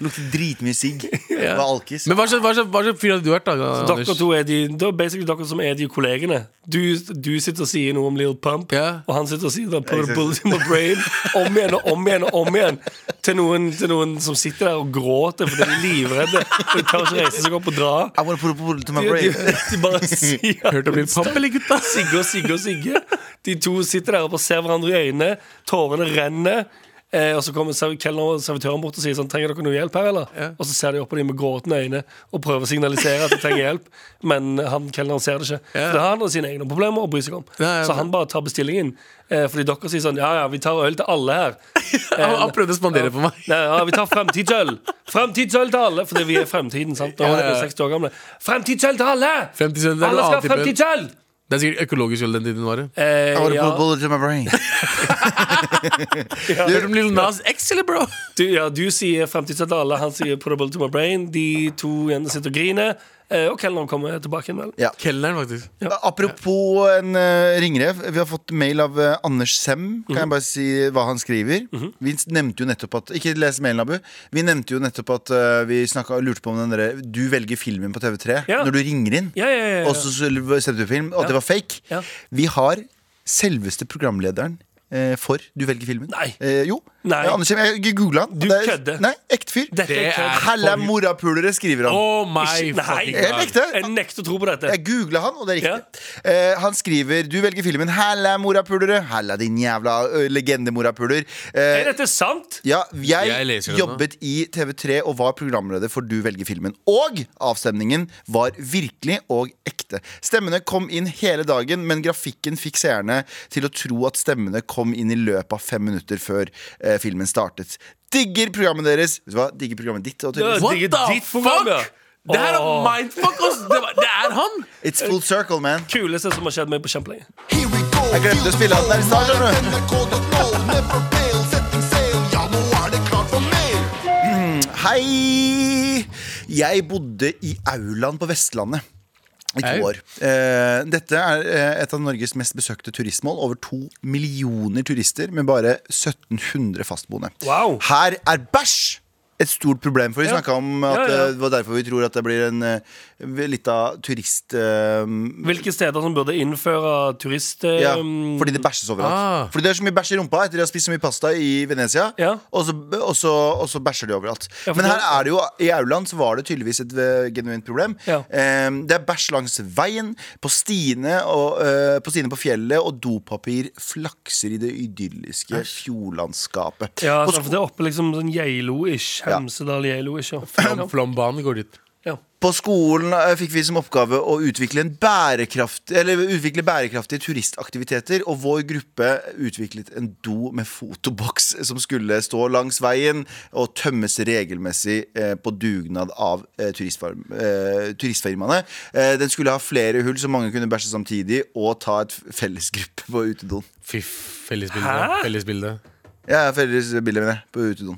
Speaker 2: Lukter dritmye sigg. Var alkis.
Speaker 3: Men hva slags- hva slags hva slags fyr hadde du vært, da? Anders?
Speaker 4: Dere to er de Det er basically dere som er de kollegene. Du, du sitter og sier noe om Lil Pump,
Speaker 3: Ja.
Speaker 4: og han sitter og sier da, Put a bullet in my brain om igjen og om igjen og om igjen. Til noen, til noen som sitter der og gråter fordi de er livredde og de tør ikke reise seg opp og dra.
Speaker 2: I want to pull a bullet to my
Speaker 4: De, de,
Speaker 2: brain.
Speaker 4: de bare sier
Speaker 3: Hørt om Lil Pump, eller, gutta?
Speaker 4: Sigge og Sigge og Sigge. De to sitter der og bare ser hverandre i øynene. Tårene renner. Eh, og så kommer serv- kelneren og servitøren bort og sier sånn Trenger dere noe hjelp her, eller? Og så ser de opp på dem med gråtende øyne og prøver å signalisere at de trenger hjelp, men han kelneren ser det ikke. For det har han og sine egne problemer å bry seg om.
Speaker 3: Ja, ja,
Speaker 4: så han bare tar bestillingen. Eh, fordi dere sier sånn Ja, ja, vi tar øl til alle her.
Speaker 3: Han, han prøvde å spandere på meg.
Speaker 4: Nei, ja, vi tar fremtidsøl! Fremtidsøl til alle! Fordi vi er fremtiden, sant? Da
Speaker 3: Ja,
Speaker 4: er
Speaker 3: ja,
Speaker 4: vi
Speaker 3: ja.
Speaker 4: 60 år gamle. Fremtidsøl til alle!
Speaker 3: Fremtidsøl, det er
Speaker 4: alle
Speaker 3: noe
Speaker 4: skal ha
Speaker 3: annet type
Speaker 4: fremtidsøl!
Speaker 3: Det er sikkert økologisk øl den tiden var det.
Speaker 4: Eh,
Speaker 2: I want to
Speaker 4: ja.
Speaker 2: pull a bullet to my brain.
Speaker 3: Hørt om Lil Nas X, eller, bro?
Speaker 4: Du, ja, du sier fremtidssett til alle, han sier 'put a bullet to my brain'. De to jentene sitter og griner, eh, og kelneren kommer tilbake igjen, vel.
Speaker 2: Ja.
Speaker 3: Kelneren, faktisk.
Speaker 2: Apropos en eh, ringrev. Vi har fått mail av eh, Anders Sem.
Speaker 4: Mhm.
Speaker 2: Kan jeg bare si hva han skriver? Vi nevnte jo nettopp at Ikke les mailen, Abu. Vi nevnte jo nettopp at eh, vi snakka, lurte på om den derre Du velger filmen på TV3
Speaker 4: Ja.
Speaker 2: når du ringer inn.
Speaker 4: Ja, ja, ja, ja.
Speaker 2: Og så sendte du film, og at det var fake.
Speaker 4: Ja.
Speaker 2: Vi har selveste programlederen. eh, For Du velger filmen.
Speaker 4: Nei.
Speaker 2: Eh, jo.
Speaker 4: Nei.
Speaker 2: Ja, Anders Sem, jeg googla han.
Speaker 4: Du
Speaker 2: Det er-
Speaker 4: kødder.
Speaker 2: Nei, ekte fyr.
Speaker 4: Dette
Speaker 3: Det
Speaker 4: er kødd.
Speaker 3: er-
Speaker 2: Halla morapulere, skriver han.
Speaker 3: Oh my
Speaker 4: Ikke- Nei.
Speaker 3: fucking
Speaker 2: Helt
Speaker 3: god.
Speaker 2: ekte.
Speaker 4: Jeg nekter å tro på dette.
Speaker 2: Jeg googla han, og det er riktig. Eh, han skriver Du velger filmen 'Halla, morapulere'. Halla, din jævla ø, legendemораpuler.
Speaker 4: Er
Speaker 2: Eh,
Speaker 4: dette sant?
Speaker 2: ja, jeg,
Speaker 3: Jeg leser den nå.
Speaker 2: jobbet i TV3 og var programleder for Du velger filmen. Og avstemningen var virkelig og ekte. Stemmene kom inn hele dagen, men grafikken fikk seerne til å tro at stemmene kom inn i løpet av fem minutter før eh, filmen startet. Digger programmet deres. Vet du hva? Digger programmet ditt. Og
Speaker 4: Ja,
Speaker 3: What
Speaker 4: Digger
Speaker 3: the
Speaker 4: ditt program, ja.
Speaker 3: fuck? Det her er
Speaker 4: Åh.
Speaker 3: mindfuck, ass! Det, var, det er han!
Speaker 2: It's full circle, man.
Speaker 4: Kuleste som har skjedd meg på kjempelenge.
Speaker 2: Jeg glemte å spille den der i stad, skjønner du. Hei! Jeg bodde i Auland på Vestlandet. I
Speaker 3: Hei.
Speaker 2: to år. Eh, dette er eh, et av Norges mest besøkte turistmål. Over to millioner turister med bare 1700 fastboende.
Speaker 4: Wow.
Speaker 2: Her er bæsj et stort problem, for vi
Speaker 4: Ja.
Speaker 2: snakka om at
Speaker 4: Ja, ja.
Speaker 2: eh, det var derfor vi tror at det blir en eh, litt av turist... eh,
Speaker 4: Hvilke steder som burde innføre turist... eh,
Speaker 2: ja, fordi det bæsjes overalt.
Speaker 3: Ah.
Speaker 2: Fordi det er så mye bæsj i rumpa etter de har spist så mye pasta i Venezia.
Speaker 4: Ja.
Speaker 2: Og, så, og, så, og så bæsjer de overalt.
Speaker 4: Ja, for
Speaker 2: Men
Speaker 4: det-
Speaker 2: her er det jo i Auland så var det tydeligvis et eh, genuint problem.
Speaker 4: Ja.
Speaker 2: Eh, det er bæsj langs veien, på stiene, og, eh, på stiene på fjellet, og dopapir flakser i det idylliske fjordlandskapet.
Speaker 4: Ja,
Speaker 2: På
Speaker 4: altså, for det er oppe liksom sånn Geilo-ish. Hemsedal-Geilo-ish. Ja.
Speaker 3: Flom- Flombanen går dit.
Speaker 4: Ja.
Speaker 2: På skolen eh, fikk vi som oppgave å utvikle, en bærekraft, eller utvikle bærekraftige turistaktiviteter, og vår gruppe utviklet en do med fotoboks som skulle stå langs veien og tømmes regelmessig eh, på dugnad av eh, turistfarm, eh, turistfirmaene. Eh, den skulle ha flere hull så mange kunne bæsje samtidig, og ta et fellesgruppe på utedoen.
Speaker 3: Fy, fellesbilde.
Speaker 4: Hæ?
Speaker 3: fellesbilde.
Speaker 2: Ja, fellesbildet, mener jeg. På utedoen.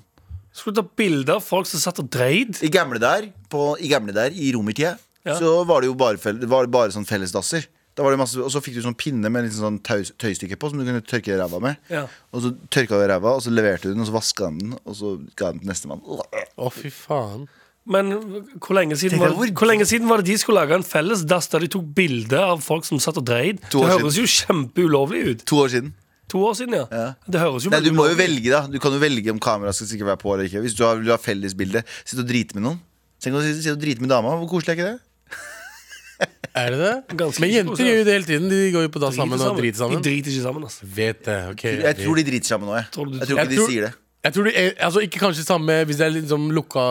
Speaker 4: Skulle du ta bilder av folk som satt og dreid?
Speaker 2: I gamle der, på, i, gamle der, i romertida,
Speaker 4: Ja.
Speaker 2: så var det jo bare, fell- var det bare sånn fellesdasser. Da var det masse, og så fikk du sånn pinne med en liten sånn tøy, tøystykke på som du kunne tørke ræva med.
Speaker 4: Ja.
Speaker 2: Og så tørka du ræva, og så leverte du den, og så vaska han den, og så ga den til nestemann.
Speaker 3: Å, fy faen.
Speaker 4: Men hvor lenge, siden var
Speaker 2: deg
Speaker 4: det,
Speaker 2: hvor-
Speaker 4: hvor lenge siden var det de skulle lage en felles dass der de tok bilde av folk som satt og dreid?
Speaker 2: To
Speaker 4: Det
Speaker 2: år
Speaker 4: høres jo kjempeulovlig ut.
Speaker 2: To år siden.
Speaker 4: To år siden, ja. Det høres jo
Speaker 2: Nei, du
Speaker 4: veldig
Speaker 2: må jo
Speaker 4: ulovlig ut.
Speaker 2: velge, da. Du kan jo velge om kameraet skal sikkert være på eller ikke. Hvis du har, vil du ha fellesbilde, sitte og drite med noen. Tenk å sitte sitte og drite med dama. Hvor koselig er ikke det?
Speaker 3: Er det det?
Speaker 4: Ganske
Speaker 3: Men
Speaker 4: stor,
Speaker 3: jenter
Speaker 4: så.
Speaker 3: gjør jo det hele tiden. De går jo på dass
Speaker 4: Driter
Speaker 3: sammen og altså. driter sammen.
Speaker 4: De driter ikke sammen, altså.
Speaker 3: Vet det, ok
Speaker 2: Jeg tror de driter sammen nå, jeg.
Speaker 4: Tror du-
Speaker 2: Jeg tror
Speaker 3: Jeg
Speaker 2: ikke de
Speaker 3: tror-
Speaker 2: sier det.
Speaker 3: Jeg tror de er, altså Ikke kanskje samme hvis det er liksom lukka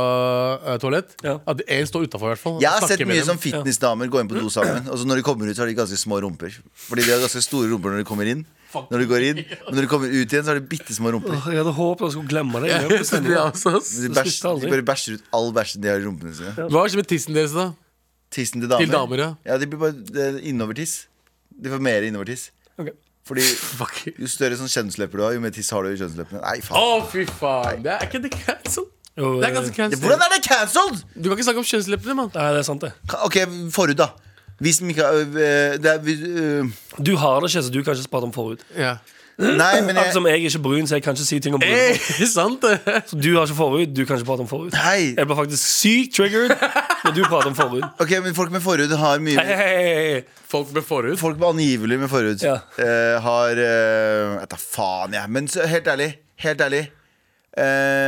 Speaker 3: eh, toalett.
Speaker 4: Ja.
Speaker 3: At én står utafor, i hvert fall.
Speaker 2: Jeg har
Speaker 3: Snakker
Speaker 2: sett
Speaker 3: med
Speaker 2: mye
Speaker 3: dem.
Speaker 2: sånn fitnessdamer gå inn på do sammen. Og så når de kommer ut, så har de ganske små rumper. Fordi de har ganske store rumper når de kommer inn. Når de går inn Men når de kommer ut igjen, så har de bitte små rumper.
Speaker 4: Åh, Jeg hadde håpet jeg skulle glemme det. i
Speaker 3: Jeg
Speaker 4: løpet av
Speaker 3: tror det
Speaker 4: sendingen.
Speaker 3: er også, ass.
Speaker 2: De,
Speaker 4: det
Speaker 2: bæsj,
Speaker 4: slutter aldri.
Speaker 2: de bare bæsjer ut all bæsjen de har i rumpene sine.
Speaker 3: Hva skjer med tissen deres, da?
Speaker 2: Tissen til damer.
Speaker 3: Til damer, ja.
Speaker 2: de blir bare det er innovertiss. De får mer innovertiss.
Speaker 4: Ok.
Speaker 2: Fordi
Speaker 3: Fuck
Speaker 2: jo større sånn kjønnslepper du har, jo mer tiss har du i kjønnsleppene. Nei,
Speaker 3: Å,
Speaker 2: faen.
Speaker 3: fy faen! Det er ikke det cancel.
Speaker 4: Jo,
Speaker 3: Det er ganske
Speaker 2: Ja,
Speaker 4: eh,
Speaker 3: cancel.
Speaker 2: Hvordan er det cancelled?!
Speaker 3: Du kan ikke snakke om kjønnsleppene, mann.
Speaker 4: Nei, det er sant, det.
Speaker 2: Ka- OK, forut, da. Hvis Mikael øh, det er, vi- øh,
Speaker 4: Du har det ikke, så du kan ikke prate om forut.
Speaker 3: Ja.
Speaker 2: Nei, men
Speaker 4: Akkurat
Speaker 3: Altså-
Speaker 2: jeg
Speaker 4: som jeg er ikke brun, så jeg kan ikke si ting om brun.
Speaker 3: Hey, sant det?
Speaker 4: Så du har ikke forhud, du kan ikke prate om forhud.
Speaker 2: Hei.
Speaker 4: Jeg ble faktisk sykt triggered når du prater om forhud.
Speaker 2: Ok, men folk med forhud har
Speaker 4: Hei, hei,
Speaker 2: mye
Speaker 4: hei, hei.
Speaker 3: Folk med forhud.
Speaker 2: Folk med angivelig med forhud
Speaker 4: Ja.
Speaker 2: eh, har eh, Jeg tar faen, jeg. Men så, helt ærlig, helt ærlig eh,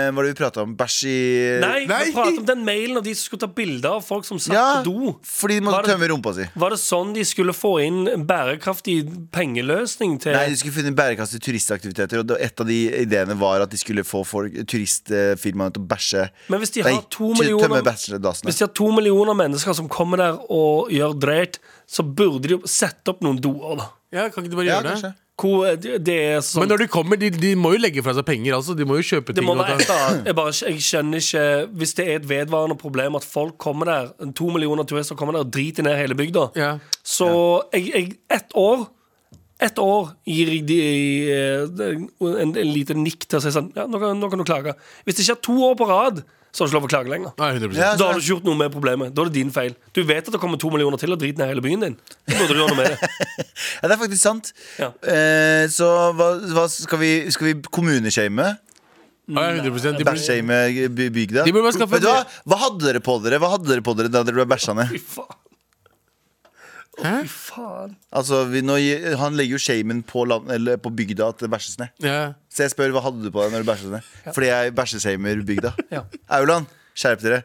Speaker 2: Hva var det vi prata om? Bæsj i
Speaker 4: Nei, vi prater om den mailen og de som skulle ta bilder av folk som satt
Speaker 2: Ja,
Speaker 4: på do.
Speaker 2: fordi de
Speaker 4: Var
Speaker 2: måtte
Speaker 4: det-
Speaker 2: tømme rumpa si.
Speaker 4: Var det sånn de skulle få inn en bærekraftig pengeløsning til
Speaker 2: Nei, De skulle finne bærekraftige turistaktiviteter. Og det- et av de ideene var at de skulle få folk, turistfirmaene til å bæsje
Speaker 4: Men hvis de
Speaker 2: Nei,
Speaker 4: har to
Speaker 2: til-
Speaker 4: millioner
Speaker 2: Tømme bachelordassene.
Speaker 4: Hvis de har to millioner mennesker som kommer der og gjør dreit, så burde de jo sette opp noen doer, da.
Speaker 3: Ja, kan ikke du bare
Speaker 2: Ja,
Speaker 3: gjøre det?
Speaker 2: kanskje.
Speaker 4: Hvor det det er sånn
Speaker 3: Men når de kommer, de, de må jo legge fra seg penger, altså. De må jo kjøpe
Speaker 4: Det
Speaker 3: ting.
Speaker 4: må
Speaker 3: og
Speaker 4: være et
Speaker 3: ta-
Speaker 4: eller annet. Jeg, bare, jeg skjønner ikke Hvis det er et vedvarende problem at folk kommer der, to millioner turister kommer der og driter ned hele bygda,
Speaker 3: ja.
Speaker 4: så jeg, jeg, ett år ett år gir jeg de eh, en, en liten nikk til å si sånn Ja, nå kan, nå kan du klage. Hvis det ikke er to år på rad, så har du ikke lov å klage lenger.
Speaker 3: Nei, 100
Speaker 2: Ja,
Speaker 4: Da har du ikke gjort noe med problemet. Da er det din feil. Du vet at det kommer to millioner til og driter ned hele byen din. Da burde du gjøre noe med det.
Speaker 2: Ja, det er faktisk sant.
Speaker 4: Ja.
Speaker 2: Eh, så hva, hva skal vi, skal vi kommuneshame?
Speaker 3: Ja, 100 de blir,
Speaker 2: Bæsjshame eh, by- bygda?
Speaker 3: De burde bare skaffe-
Speaker 2: Vet du hva? hva hadde dere på dere Hva hadde dere på dere da dere ble bæsja ned?
Speaker 4: Fy faen. Å,
Speaker 3: Hæ?
Speaker 4: Fy faen.
Speaker 2: Altså, vi, nå, gi- han legger jo shamen på, land, eller på bygda at det bæsjes ned.
Speaker 3: ja.
Speaker 2: Så jeg spør hva hadde du på deg når du bæsja ned? Fordi jeg bæsjeshamer bygda.
Speaker 4: Ja.
Speaker 2: Auland, skjerp dere.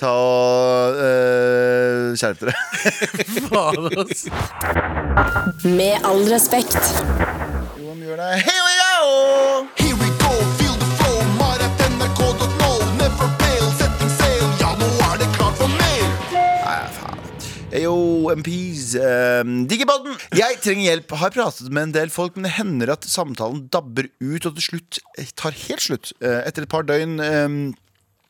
Speaker 2: Ta og eh, Skjerp dere.
Speaker 3: Faen, ass.
Speaker 7: Med all respekt.
Speaker 2: Johan gjør det. Hei, hei, hei!
Speaker 8: Here we go, feel the flow, maratnrk.no, never fail, setting sail, ja nå er det klart for mer.
Speaker 2: Nei, faen. Yo, MPs. ehm, Digibodden! Jeg trenger hjelp. Har pratet med en del folk, men det hender at samtalen dabber ut og til slutt tar helt slutt. Eh, etter et par døgn ehm,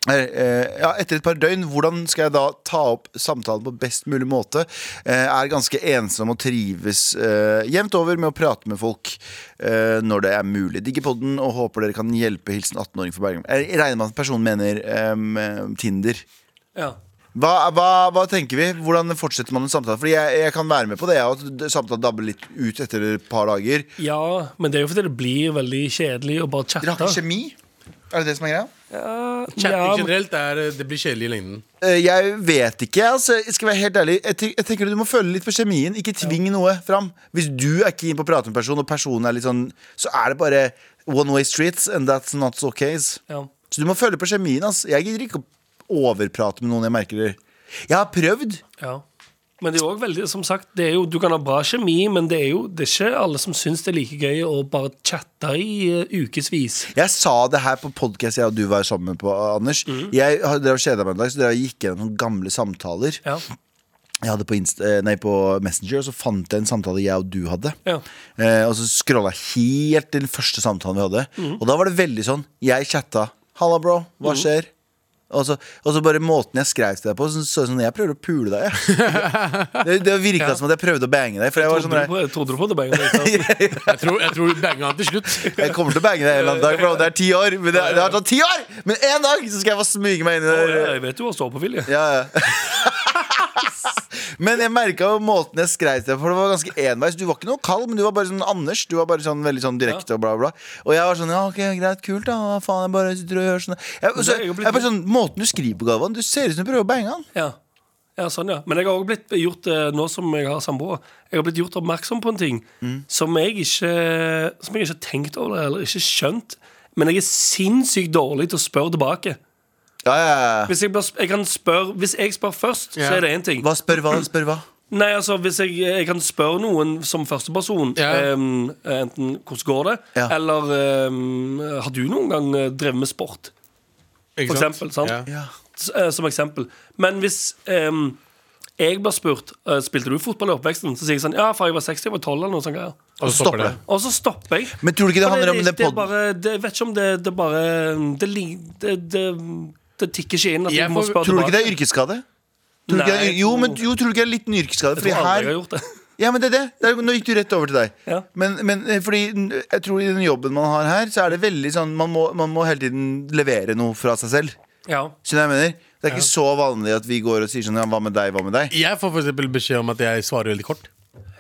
Speaker 2: eh, eh, ja, etter et par døgn, hvordan skal jeg da ta opp samtalen på best mulig måte? Eh, er ganske ensom og trives eh, jevnt over med å prate med folk eh, når det er mulig. Digger podden og håper dere kan hjelpe. Hilsen 18-åring fra Bergen. Jeg regner med at personen mener ehm, Tinder.
Speaker 4: Ja.
Speaker 2: Hva, hva, hva tenker vi? Hvordan fortsetter man en samtale? Fordi jeg, jeg kan være med på det, jeg, at d- samtalen dabber litt ut etter et par dager.
Speaker 4: ja, men det er jo fordi det blir veldig kjedelig å bare chatte.
Speaker 2: Dere har ikke kjemi? Er det det som er greia?
Speaker 4: Ja,
Speaker 3: Chatting
Speaker 4: men-
Speaker 3: generelt er eh, Det blir kjedelig i lengden.
Speaker 2: Eh, Jeg vet ikke. altså Jeg skal være helt ærlig Jeg, ten- jeg tenker Du må føle litt på kjemien. Ikke tving noe fram. Hvis du er keen på å prate med en person, og personen er litt sånn, så er det bare one way streets, and that's not so case.
Speaker 4: Ja.
Speaker 2: Så du må føle på kjemien. ass Jeg gidder ikke å overprate med noen jeg merker det. Jeg har prøvd.
Speaker 4: Ja. Men det er jo også veldig, som sagt, det er jo, du kan ha bra kjemi, men det er jo det er ikke alle som syns det er like gøy å bare chatte i uh, ukevis.
Speaker 2: Jeg sa det her på podkast jeg og du var sammen på, Anders. Jeg har- drev og kjeda meg en dag, så drev jeg og gikk gjennom noen gamle samtaler.
Speaker 4: Ja.
Speaker 2: Jeg hadde på, Inst eh, nei, på Messenger, og så fant jeg en samtale jeg og du hadde.
Speaker 4: Ja.
Speaker 2: Eh, og så scrolla jeg helt til den første samtalen vi hadde. Og da var det veldig sånn Jeg chatta. 'Halla, bro. Hva skjer?' Og så, og så bare måten jeg skrev til deg på, så så det sånn Jeg prøver å pule deg, jeg. Det, det virka som at jeg prøvde å bange deg. For jeg var sånn
Speaker 4: Trodde du
Speaker 2: der,
Speaker 4: på, trodde du på det? Bengt?
Speaker 3: Jeg tror, jeg tror banga han til slutt.
Speaker 2: Jeg kommer til å bange deg en eller annen dag, bro. Det er ti år. Men det, det har tatt ti år! Men en dag så skal jeg bare smyge meg inn i det. der.
Speaker 4: Jeg vet du har ståpåvilje.
Speaker 2: Ja, ja. Men jeg merka måten jeg skrev til deg på. Det var ganske enveis. Du var ikke noe kald, men du var bare sånn Anders. Du var bare sånn veldig sånn direkte og bla, bla. Og jeg var sånn Ja, ok, greit, kult, da. Hva Faen, jeg bare sitter og gjør sånn. Jeg, og så,
Speaker 4: Det er jo
Speaker 2: jeg
Speaker 4: blitt-
Speaker 2: bare sånn Måten du skriver på, Galvan Du ser ut som du prøver å bange han.
Speaker 4: Ja. ja, sånn ja Men jeg har også blitt gjort eh, Nå som jeg har samboer Jeg har blitt gjort oppmerksom på en ting
Speaker 2: Mm.
Speaker 4: Som jeg ikke Som jeg ikke har tenkt over Eller ikke skjønt Men jeg er sinnssykt dårlig til å spørre tilbake
Speaker 2: Ja, ja, ja.
Speaker 4: Hvis jeg, blir sp- jeg kan spørre Hvis jeg spør først Så
Speaker 3: Ja.
Speaker 4: er det en ting
Speaker 2: Hva spør hva? Spør hva?
Speaker 4: Nei, altså Hvis jeg, jeg kan spørre noen som førsteperson
Speaker 3: Ja.
Speaker 4: em, Enten hvordan går det
Speaker 2: Ja.
Speaker 4: Eller em, Har du noen gang eh, drevet med sport?
Speaker 3: Ikke
Speaker 4: For eksempel, sant?
Speaker 3: Ja.
Speaker 2: Ja.
Speaker 4: S- eh, som eksempel. Men hvis ehm, jeg blir spurt eh, Spilte du fotball i oppveksten, så sier jeg sånn Ja, for jeg var 60, jeg var 12 eller noe sånt. greier.
Speaker 3: Og så stopper det.
Speaker 4: Og så stopper jeg.
Speaker 2: Men tror du ikke det
Speaker 4: For
Speaker 2: handler om
Speaker 4: det,
Speaker 2: den
Speaker 4: det er
Speaker 2: podden?
Speaker 4: bare, det, Jeg vet ikke om det, det er bare det, lig- det, det, det tikker ikke inn at
Speaker 3: Jeg
Speaker 4: jeg må
Speaker 3: får-
Speaker 4: spørre
Speaker 2: Tror du ikke det
Speaker 4: tilbake.
Speaker 2: er yrkesskade? Tror du ikke det
Speaker 4: Nei,
Speaker 2: er, jo,
Speaker 4: jeg
Speaker 2: men
Speaker 4: tror-
Speaker 2: jo, tror du ikke det er en liten yrkesskade? Fordi
Speaker 4: Jeg tror aldri
Speaker 2: her
Speaker 4: jeg har gjort det.
Speaker 2: Ja, men det er det. det er, nå gikk du rett over til deg.
Speaker 4: Ja.
Speaker 2: Men, men eh, fordi n- jeg tror i den jobben man har her, så er det veldig sånn Man må, man må hele tiden levere noe fra seg selv.
Speaker 4: Ja.
Speaker 2: Skjønner du hva jeg mener? Det er ikke så vanlig at vi går og sier sånn ja, hva med deg, hva med deg?
Speaker 3: Jeg får for eksempel beskjed om at jeg svarer veldig kort.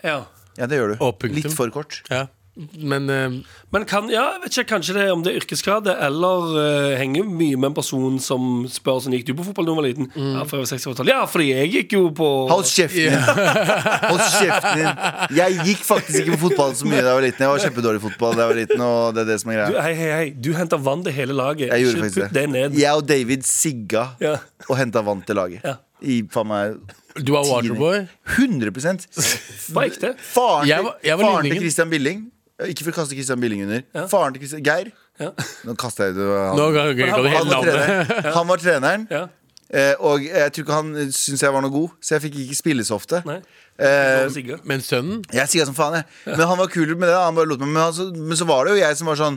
Speaker 4: ja.
Speaker 2: Ja, det gjør du.
Speaker 3: Og punktum.
Speaker 2: Litt for kort.
Speaker 3: Ja. Men eh,
Speaker 4: Men kan, ja, jeg vet ikke, kanskje det er om det er yrkesskade, eller eh, henger mye med en person som spør sånn Gikk du på fotball da du var liten? Ja, for jeg var seks år gammel. Ja, fordi jeg gikk jo på
Speaker 2: Mm. Hold kjeften din! Hold kjeften din Jeg gikk faktisk ikke på fotball så mye da jeg var liten. Jeg var kjempedårlig i fotball da jeg var liten, og det er det som er
Speaker 4: du,
Speaker 2: greia.
Speaker 4: Hei, hei, hei, du henter vann til hele laget.
Speaker 2: Jeg gjorde
Speaker 4: Ikke
Speaker 2: faktisk
Speaker 4: putt det
Speaker 2: det.
Speaker 4: ned.
Speaker 2: Jeg og David sigga
Speaker 4: Ja.
Speaker 2: og henta vann til laget.
Speaker 4: Ja.
Speaker 2: I faen meg
Speaker 3: du var waterboy.
Speaker 2: 100
Speaker 4: Bare ekte.
Speaker 2: Faren,
Speaker 3: Jeg
Speaker 2: til,
Speaker 3: var- jeg var
Speaker 2: faren til
Speaker 3: ligningen.
Speaker 2: Christian Billing Eh, Ikke for å kaste Christian Billing under. Faren til Christian, Geir.
Speaker 4: Ja.
Speaker 2: Nå kaster jeg det
Speaker 3: Nå
Speaker 2: han,
Speaker 3: ga- ga- ga du
Speaker 2: han,
Speaker 3: hele
Speaker 2: var
Speaker 3: navnet.
Speaker 2: treneren. han var treneren.
Speaker 4: Ja.
Speaker 2: Eh, og jeg tror ikke han syntes jeg var noe god, så jeg fikk ikke spille så ofte.
Speaker 4: Nei.
Speaker 2: Eh,
Speaker 4: Sigga.
Speaker 3: Men sønnen
Speaker 2: jeg sier som faen, jeg. Men han var kul med det. Han bare lot meg. Men, han, så, men så var det jo jeg som var sånn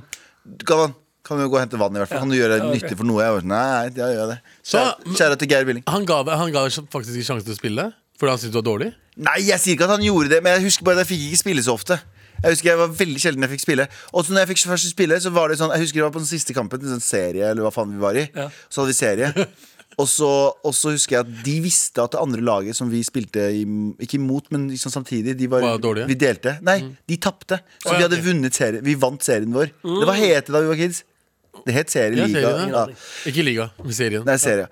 Speaker 2: Galvan, kan du gå og hente vann, i hvert fall? Kan du gjøre
Speaker 4: ok.
Speaker 2: nytte for noe? Jeg var sånn, nei, nei, ja, gjør jeg det.
Speaker 3: Så-
Speaker 2: Kjære- Kjære til Geir Billing.
Speaker 3: Han ga, han ga deg faktisk ikke sjansen til å spille fordi han syntes du var dårlig?
Speaker 2: Nei, jeg sier ikke at han gjorde det, men jeg husker bare at jeg fikk ikke spille så ofte. Jeg husker jeg var veldig sjelden jeg fikk spille. Og så når jeg fikk først spille, så var det sånn Jeg husker det var på den siste kampen, en sånn serie, eller hva faen vi var i. Så hadde vi serie. Og så, og så husker jeg at de visste at det andre laget som vi spilte i, ikke imot, men liksom samtidig de var,
Speaker 3: Var dårlige? Mm.
Speaker 2: Vi delte. Nei, de tapte. Så
Speaker 3: Å, ja,
Speaker 2: vi hadde
Speaker 3: ok. Mm.
Speaker 2: vunnet serien. Vi vant serien vår. Det var hete da vi var kids. Det het serie
Speaker 3: Ja,
Speaker 2: liga.
Speaker 3: serien, ja.
Speaker 2: Ja.
Speaker 3: Ikke liga, men serien.
Speaker 2: Nei, serie.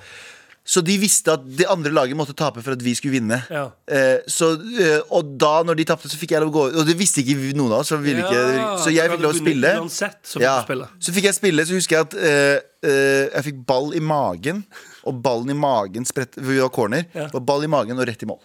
Speaker 2: Så de visste at det andre laget måtte tape for at vi skulle vinne.
Speaker 4: Ja.
Speaker 2: Eh, så, eh, og da når de tapte, så fikk jeg lov å gå ut. Og det visste ikke vi- noen av oss. for vi ville ikke, det ville ikke- så jeg
Speaker 4: du
Speaker 2: fikk lov å
Speaker 4: hadde
Speaker 2: spille.
Speaker 4: vunnet Uansett, så fikk
Speaker 2: Ja.
Speaker 4: du spille.
Speaker 2: Så fikk jeg spille, så husker jeg at eh, eh, jeg fikk ball i magen. Og ballen i magen spredt, for vi var corner. Det var Ball i magen og rett i mål.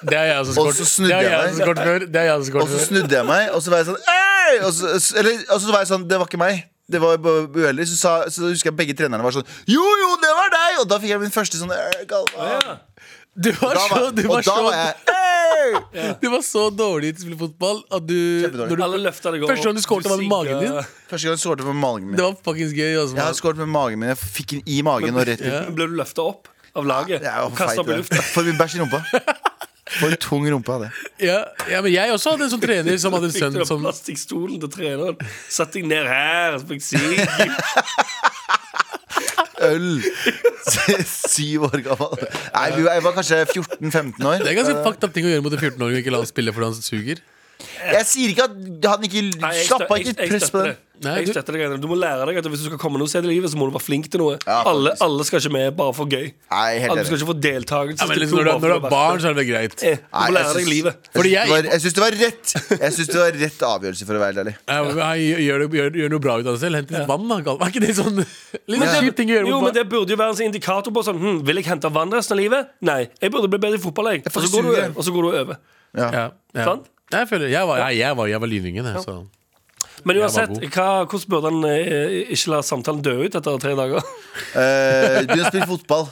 Speaker 3: Det er jeg som
Speaker 2: Og så
Speaker 3: skåret
Speaker 2: snudde
Speaker 3: Det
Speaker 2: jeg
Speaker 3: er jeg som
Speaker 2: meg.
Speaker 3: skåret før. Det er jeg som
Speaker 2: Og
Speaker 3: skåret
Speaker 2: så
Speaker 3: før.
Speaker 2: snudde jeg meg, og så var jeg sånn «Ei!» og så, eller, og så var jeg sånn Det var ikke meg. Det var bare uheldig. Så, sa, så husker jeg begge trenerne var sånn Jo, jo, det var deg! Og da fikk jeg min første sånn «Ei, Galvan.
Speaker 3: Du var
Speaker 2: Da
Speaker 3: så,
Speaker 2: var,
Speaker 3: du
Speaker 2: og
Speaker 3: var
Speaker 2: da var
Speaker 3: så,
Speaker 2: jeg «Ei!»
Speaker 3: du var så dårlig til å spille fotball at du,
Speaker 2: Kjempedårlig.
Speaker 3: når
Speaker 4: Alle
Speaker 3: du
Speaker 4: løfta deg
Speaker 3: Første gang du skåret, var med magen
Speaker 4: sigga.
Speaker 3: din.
Speaker 2: Første gang jeg skåret med magen min.
Speaker 3: Det var fuckings gøy. Altså.
Speaker 2: Jeg har skåret med magen min. Jeg fikk den i magen og rett ut.
Speaker 4: Ble du løfta opp av laget?
Speaker 2: Jeg var
Speaker 4: og
Speaker 2: for
Speaker 4: kasta
Speaker 2: feit,
Speaker 4: opp i
Speaker 2: det.
Speaker 4: lufta?
Speaker 2: For mye bæsj i rumpa. For tung rumpe hadde jeg.
Speaker 3: ja, ja, men jeg også hadde en sånn trener som hadde en
Speaker 4: Fikk du
Speaker 3: sønn
Speaker 4: den
Speaker 3: som
Speaker 4: plastikkstolen til treneren? Satt deg ned her, så fikk jeg sigg.
Speaker 2: Øl! Syv år gammel. Nei, vi var- jeg var kanskje 14-15
Speaker 3: Det er
Speaker 2: år.
Speaker 3: ganske fucked up ting å gjøre mot en 14-åring og ikke la han spille fordi han suger.
Speaker 2: Jeg sier ikke at han ikke
Speaker 4: Nei, jeg
Speaker 2: Slapp
Speaker 4: stø-
Speaker 2: av, ikke
Speaker 4: jeg- jeg
Speaker 2: press på
Speaker 4: støtter
Speaker 2: den.
Speaker 4: det.
Speaker 3: Nei,
Speaker 4: Jeg
Speaker 3: du-
Speaker 4: støtter det greiene. Du må lære deg at hvis du skal komme noe sted i livet, så må du være flink til noe.
Speaker 2: Ja, faktisk.
Speaker 4: alle, alle skal ikke med bare for gøy.
Speaker 2: Nei, helt
Speaker 4: alle skal
Speaker 2: enig.
Speaker 4: ikke få deltakelse.
Speaker 3: Ja, men liksom, når, du, når du er barn, så er det vel greit.
Speaker 4: Eh, Du
Speaker 2: Nei,
Speaker 4: må lære
Speaker 2: jeg
Speaker 4: deg
Speaker 2: syns-
Speaker 4: livet.
Speaker 2: jeg
Speaker 3: Fordi
Speaker 2: syns det
Speaker 3: jeg-
Speaker 2: var- Jeg syns det var rett Jeg synes det var rett avgjørelse, for å være helt ærlig.
Speaker 3: Ja, men jeg- Gjør, det- gjør, gjør noe bra ut av deg selv. Hent litt vann, da. Galvan. Er ikke det sånn Litt sånn kjip ting å gjøre mot
Speaker 4: Jo, men
Speaker 3: barn?
Speaker 4: Det burde jo være en sånn indikator på sånn hm, Vil jeg hente vann resten av livet? Nei. Jeg burde bli bedre i fotball, jeg. Og så går du
Speaker 2: suger.
Speaker 4: over. Og så går du over.
Speaker 3: Ja, ja.
Speaker 4: Sant?
Speaker 3: Nei, Jeg føler Jeg var, jeg, jeg var, jeg var lynringen, jeg. Så.
Speaker 4: Men
Speaker 3: god.
Speaker 4: uansett, hva, hvordan burde han eh, ikke la samtalen dø ut etter tre dager?
Speaker 2: Eh, Begynn å spille fotball.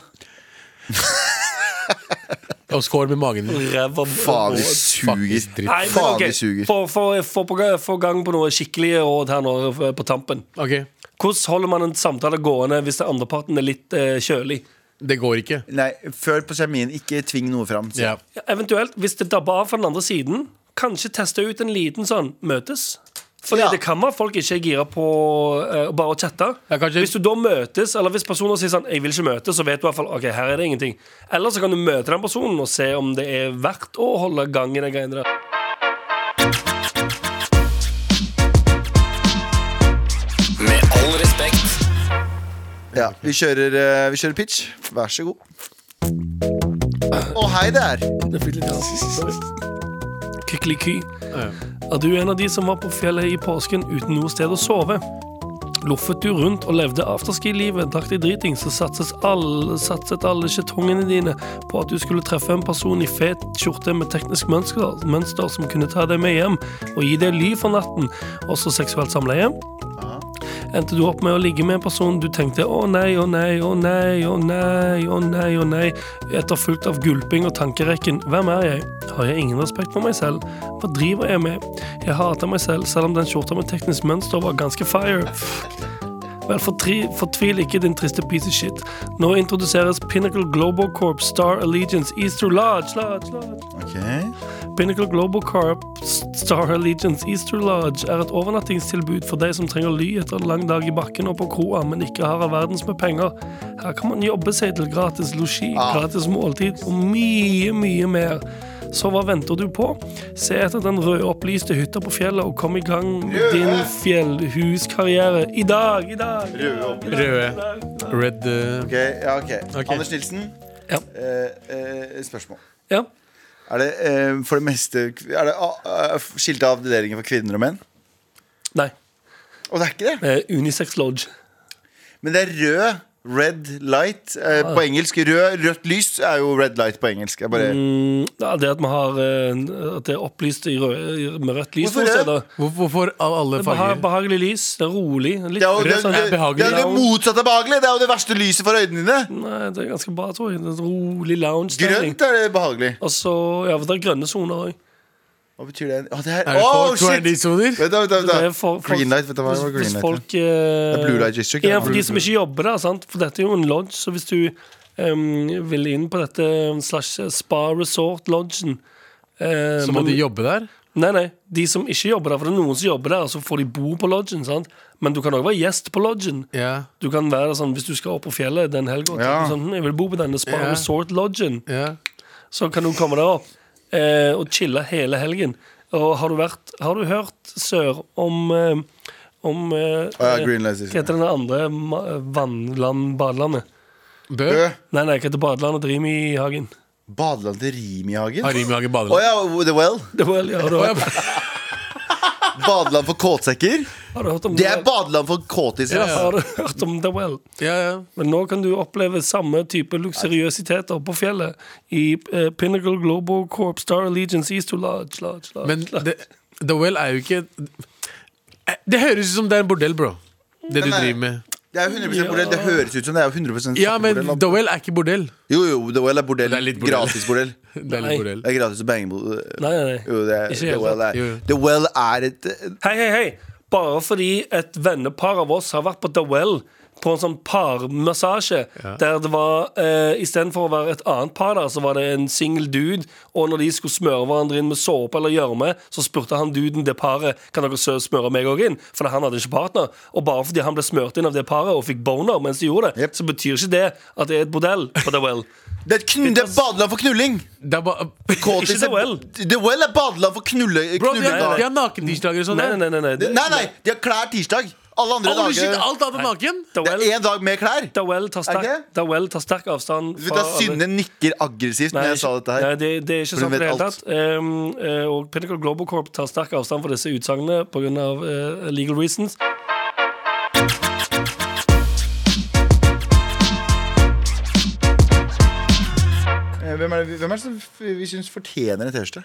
Speaker 3: Og skår med magen din.
Speaker 4: Ræva
Speaker 2: Faen, vi
Speaker 4: Nei,
Speaker 2: suger.
Speaker 3: Fuckings dritt.
Speaker 4: men
Speaker 2: Faen,
Speaker 4: ok.
Speaker 2: vi suger.
Speaker 4: Få- Få få på ga- få gang på noe skikkelig råd her nå eh, på tampen.
Speaker 3: Ok,
Speaker 4: Hvordan holder man en samtale gående hvis den andre parten er litt eh, kjølig?
Speaker 3: Det går ikke.
Speaker 2: Nei, føl på kjemien. Ikke tving noe fram. sier jeg.
Speaker 3: Ja.
Speaker 4: Ja, eventuelt, hvis det dabber av fra den andre siden, kanskje teste ut en liten sånn møtes. Fordi
Speaker 2: Ja.
Speaker 4: det kan være folk ikke er gira på eh, bare å chatte.
Speaker 3: Ja, kanskje-
Speaker 4: Hvis du da møtes, eller hvis personer sier sånn 'Jeg vil ikke møtes', så vet du i hvert fall ok, her er det ingenting. Eller så kan du møte den personen og se om det er verdt å holde gang i de greiene der.
Speaker 5: Med all respekt.
Speaker 2: Ja, vi kjører, eh, vi kjører pitch. Vær så god. Å, hei der!
Speaker 4: Kykkeliky. Er du en av de som var på fjellet i påsken uten noe sted å sove? Loffet du rundt og levde afterski-livet, drakk deg driting, så satses alle, satset alle skjetongene dine på at du skulle treffe en person i fet skjorte med teknisk mønster, mønster som kunne ta deg med hjem og gi deg ly for natten, også seksuelt samleie? endte du opp med å ligge med en person du tenkte å nei, å nei, å nei, å nei, å nei, å nei, etterfulgt av gulping og tankerekken hvem er jeg, har jeg ingen respekt for meg selv, hva driver jeg med, jeg hater meg selv, selv om den skjorta med teknisk mønster var ganske fire. Vel, fortri, fortvil ikke din triste piece of shit. Nå introduseres Pinnacle Global Corp Star Allegiance Easter Lodge, Lodge, Lodge.
Speaker 2: Ok
Speaker 4: Pinnacle Global Corp Star Allegiance Easter Lodge er et overnattingstilbud for deg som trenger ly etter en lang dag i bakken og på kroa, men ikke har all verdens med penger.
Speaker 2: Ah.
Speaker 4: Her kan man jobbe seg til gratis losji, gratis måltid og mye, mye mer. Så hva venter du på? Se etter den røde opplyste hytta på fjellet og kom i gang med din fjellhuskarriere i dag, i dag. i dag, i dag, i
Speaker 3: Røde.
Speaker 4: dag, i dag.
Speaker 3: Red eh,
Speaker 2: Ok, ja, ok.
Speaker 3: Ok.
Speaker 2: Anders Nilsen,
Speaker 4: Ja.
Speaker 2: eh, eh, spørsmål.
Speaker 4: Ja.
Speaker 2: Er det eh, for det meste Er det ah, ah, skilte avdelinger for kvinner og menn?
Speaker 4: Nei.
Speaker 2: Og det er ikke det.
Speaker 4: Eh, Unisex Lodge.
Speaker 2: Men det er rød, red light
Speaker 4: Ah,
Speaker 2: eh, på engelsk. Rød, rødt lys er jo red light på engelsk. Jeg bare,
Speaker 4: Mm, ja, det at vi har eh, At det er opplyst i rød, med rødt lys
Speaker 2: Hvorfor
Speaker 4: noen
Speaker 2: det?
Speaker 4: steder.
Speaker 3: hvor- Hvorfor av alle
Speaker 4: Det er beha-
Speaker 3: farger?
Speaker 4: behagelig lys. Det er rolig. Litt
Speaker 2: det er jo det,
Speaker 4: rød, sånn,
Speaker 2: det,
Speaker 4: det er behagelig.
Speaker 2: det, er jo det motsatte av behagelig! Det er jo det verste lyset for øynene dine.
Speaker 4: Nei, det er ganske bra, tror jeg. Det er en rolig lounge.
Speaker 2: Grønt er det behagelig.
Speaker 4: Og så, ja, for det er grønne soner òg.
Speaker 2: Hva betyr det? Å, det er,
Speaker 3: Er det
Speaker 2: Åh,
Speaker 3: folk
Speaker 2: shit!
Speaker 3: trendy-soner?
Speaker 2: Vent, da, vent, da, vent,
Speaker 4: Det er
Speaker 2: da.
Speaker 4: for- for-
Speaker 2: Green light, vet du hva?
Speaker 4: Hvis,
Speaker 2: det var
Speaker 4: hvis
Speaker 2: Green light.
Speaker 4: folk eh,
Speaker 2: Det er blue light district,
Speaker 4: Ja,
Speaker 2: ja.
Speaker 4: for de som ikke jobber der, sant? for dette er jo en lodge, så hvis du em, vil inn på dette slash eh, spa resort-lodgen eh,
Speaker 3: Så må
Speaker 4: men-
Speaker 3: de jobbe der?
Speaker 4: Nei, nei, de som ikke jobber der, for det er noen som jobber der, og så får de bo på lodgen, sant? Men du kan òg være gjest på lodgen.
Speaker 3: Ja.
Speaker 4: Du kan være sånn, Hvis du skal opp på fjellet den helga og
Speaker 2: Ja.
Speaker 4: tenker sånn, hm, jeg vil bo på denne spa
Speaker 3: Ja.
Speaker 4: resort lodgen,
Speaker 3: ja.
Speaker 4: så kan du komme deg opp eh, og chille hele helgen. Og har du, vært, har du hørt, Sør, om eh, om eh,
Speaker 2: Å ja, Green Light District.
Speaker 4: Hva heter den andre ma- eh, vannland badelandet?
Speaker 3: Bø?
Speaker 2: Rød.
Speaker 4: Nei, nei, hva heter badelandet til Rimi-hagen?
Speaker 2: Badeland til Rimihagen?
Speaker 3: Harimihage
Speaker 2: Å
Speaker 3: badeland.
Speaker 2: ja, The Well?
Speaker 4: Det var- ja, Har du-
Speaker 2: Badeland for kåtsekker?
Speaker 4: har du hørt om
Speaker 2: Det er
Speaker 4: The Well?
Speaker 2: badeland for kåtiser. ass.
Speaker 4: Har du hørt om The Well?
Speaker 3: Ja, ja.
Speaker 4: Men nå kan du oppleve samme type luksuriøsitet oppe på fjellet i eh, Pinnacle Global Corp Star Allegiance East to Lodge, Lodge, Lodge.
Speaker 3: Men det, The Well er jo ikke Eh, Det høres ut som det er en bordell, bro. Det du
Speaker 2: Nei, nei.
Speaker 3: driver med.
Speaker 2: Det er jo 100 bordell. Det høres ut som det er jo 100
Speaker 3: Ja, men
Speaker 2: bordell, da.
Speaker 3: The Well er ikke bordell.
Speaker 2: Jo, jo, The Well er bordell.
Speaker 3: Det er litt bordell.
Speaker 2: Gratis bordell.
Speaker 3: Det er
Speaker 4: Nei.
Speaker 3: litt bordell.
Speaker 2: Det er gratis å bange bo-
Speaker 4: nei, nei, nei.
Speaker 2: Jo, det er,
Speaker 4: Ikke
Speaker 2: The
Speaker 4: helt
Speaker 2: Well
Speaker 4: sant.
Speaker 2: er
Speaker 3: Jo, jo.
Speaker 2: The Well er et eh,
Speaker 4: Hei, hei, hei. Bare fordi et vennepar av oss har vært på The Well på en sånn parmassasje, der det var eh, istedenfor å være et annet par der, så var det en single dude, og når de skulle smøre hverandre inn med såpe eller gjørme, så spurte han duden det paret kan dere sø- smøre meg òg inn, for han hadde ikke partner. Og bare fordi han ble smurt inn av det paret og fikk boner mens de gjorde det,
Speaker 2: Jep.
Speaker 4: så betyr ikke det at det er et bordell på The Well.
Speaker 2: Det er, et kn det er badeland for knulling!
Speaker 3: Det er ba
Speaker 2: Kåtis
Speaker 4: Ikke The
Speaker 2: er-
Speaker 4: Well.
Speaker 2: The Well er badeland for knulle,
Speaker 3: Bro, de
Speaker 2: knulling.
Speaker 3: har,
Speaker 4: nei.
Speaker 3: de har nakendirsdager og sånn.
Speaker 4: Nei,
Speaker 3: der.
Speaker 4: nei, nei. nei,
Speaker 2: Nei,
Speaker 4: nei.
Speaker 2: nei, de har klær tirsdag. Alle andre
Speaker 3: Holy shit,
Speaker 2: dager
Speaker 3: alt annet er naken?
Speaker 2: Det
Speaker 4: The Well,
Speaker 2: er én dag med klær.
Speaker 4: The well tar sterk,
Speaker 2: Er det?
Speaker 4: The well tar sterk avstand
Speaker 2: Du vet at
Speaker 4: alle-
Speaker 2: Synne nikker aggressivt når jeg
Speaker 4: ikke-
Speaker 2: sa dette her.
Speaker 4: Nei, det, det er ikke
Speaker 2: For hun
Speaker 4: sant i det
Speaker 2: vet
Speaker 4: hele tatt. Ehm, eh, og Pinnacle Global Corp tar sterk avstand fra disse utsagnene pga. Uh, legal reasons.
Speaker 2: Eh, Hvem er det, hvem er det som f- vi syns fortjener en T-skjorte?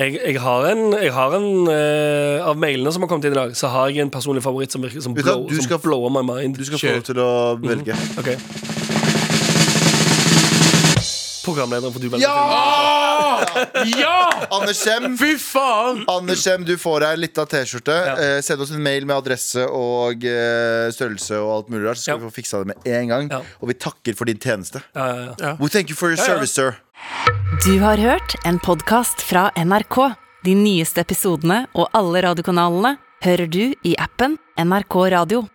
Speaker 4: Jeg, jeg har en, jeg har en eh, Av mailene som har kommet inn i dag, så har jeg en personlig favoritt som virker som,
Speaker 2: Vet du hva,
Speaker 4: blow,
Speaker 2: du
Speaker 4: som
Speaker 2: skal-
Speaker 4: blower my mind.
Speaker 2: Du skal få
Speaker 3: Kjør.
Speaker 2: lov til å velge.
Speaker 4: Ok. Programlederen for Du velger.
Speaker 2: Ah!
Speaker 3: Ja!
Speaker 2: Anders Sem.
Speaker 3: Fy faen!
Speaker 2: Anders Sem, du får ei lita T-skjorte.
Speaker 4: Ja.
Speaker 2: Eh, send oss en mail med adresse og eh, størrelse og alt mulig rart, så skal
Speaker 4: Ja.
Speaker 2: vi få fiksa det med en gang.
Speaker 4: Ja.
Speaker 2: Og vi takker for din tjeneste.
Speaker 4: Ja, ja, ja.
Speaker 2: We thank you for your
Speaker 4: Ja, ja.
Speaker 2: service, sir.
Speaker 1: Du har hørt en podkast fra NRK. De nyeste episodene og alle radiokanalene hører du i appen NRK Radio.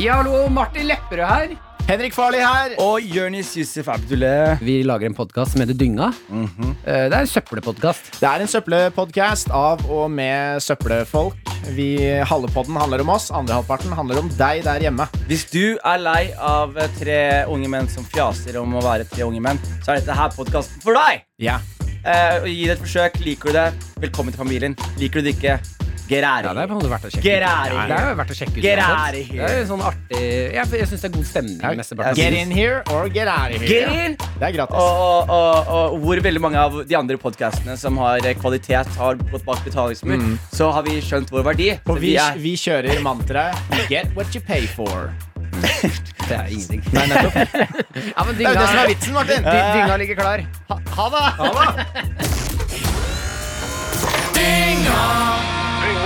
Speaker 9: Ja, hallo, Martin Lepperød her.
Speaker 10: Henrik Farley her. Og Jonis Yusuf Abdullah. Mhm.
Speaker 9: Vi lager en podkast som heter Dynga. Eh, Det er en søppelpodkast.
Speaker 10: Det er en søppelpodkast av og med søppelfolk. Vi, halve podden handler om oss, andre halvparten handler om deg der hjemme.
Speaker 11: Hvis du er lei av eh, tre unge menn som fjaser om å være tre unge menn, så er dette her podkasten for deg!
Speaker 10: Ja.
Speaker 11: Eh, og gi det et forsøk. Liker du det, velkommen til familien. Liker du det ikke, get out
Speaker 9: Ja,
Speaker 11: of
Speaker 9: det er på en
Speaker 11: here.
Speaker 9: måte verdt å sjekke
Speaker 11: Get
Speaker 9: ut.
Speaker 11: out of
Speaker 9: Ja, det er jo verdt å sjekke ut.
Speaker 11: Get
Speaker 9: uansett.
Speaker 11: out of here.
Speaker 9: Det er jo sånn artig Jeg, jeg syns det er god stemning.
Speaker 10: Ja.
Speaker 9: mesteparten av
Speaker 10: Get
Speaker 9: tiden.
Speaker 10: in here or get out of
Speaker 11: Get
Speaker 10: here.
Speaker 11: in!
Speaker 10: Det er gratis.
Speaker 11: Og, og, og, og hvor veldig mange av de andre podkastene som har eh, kvalitet, har gått bak betalingsmur, så har vi skjønt vår verdi. Så
Speaker 10: Mm. Og vi,
Speaker 11: er-
Speaker 10: vi kjører mantraet Get what you pay for.
Speaker 9: Det er ingenting. ja, men
Speaker 10: Det er jo det som
Speaker 9: dynga,
Speaker 10: er vitsen, Martin.
Speaker 9: dy- dynga ligger klar.
Speaker 10: Ha det. Ha det.
Speaker 7: Dynga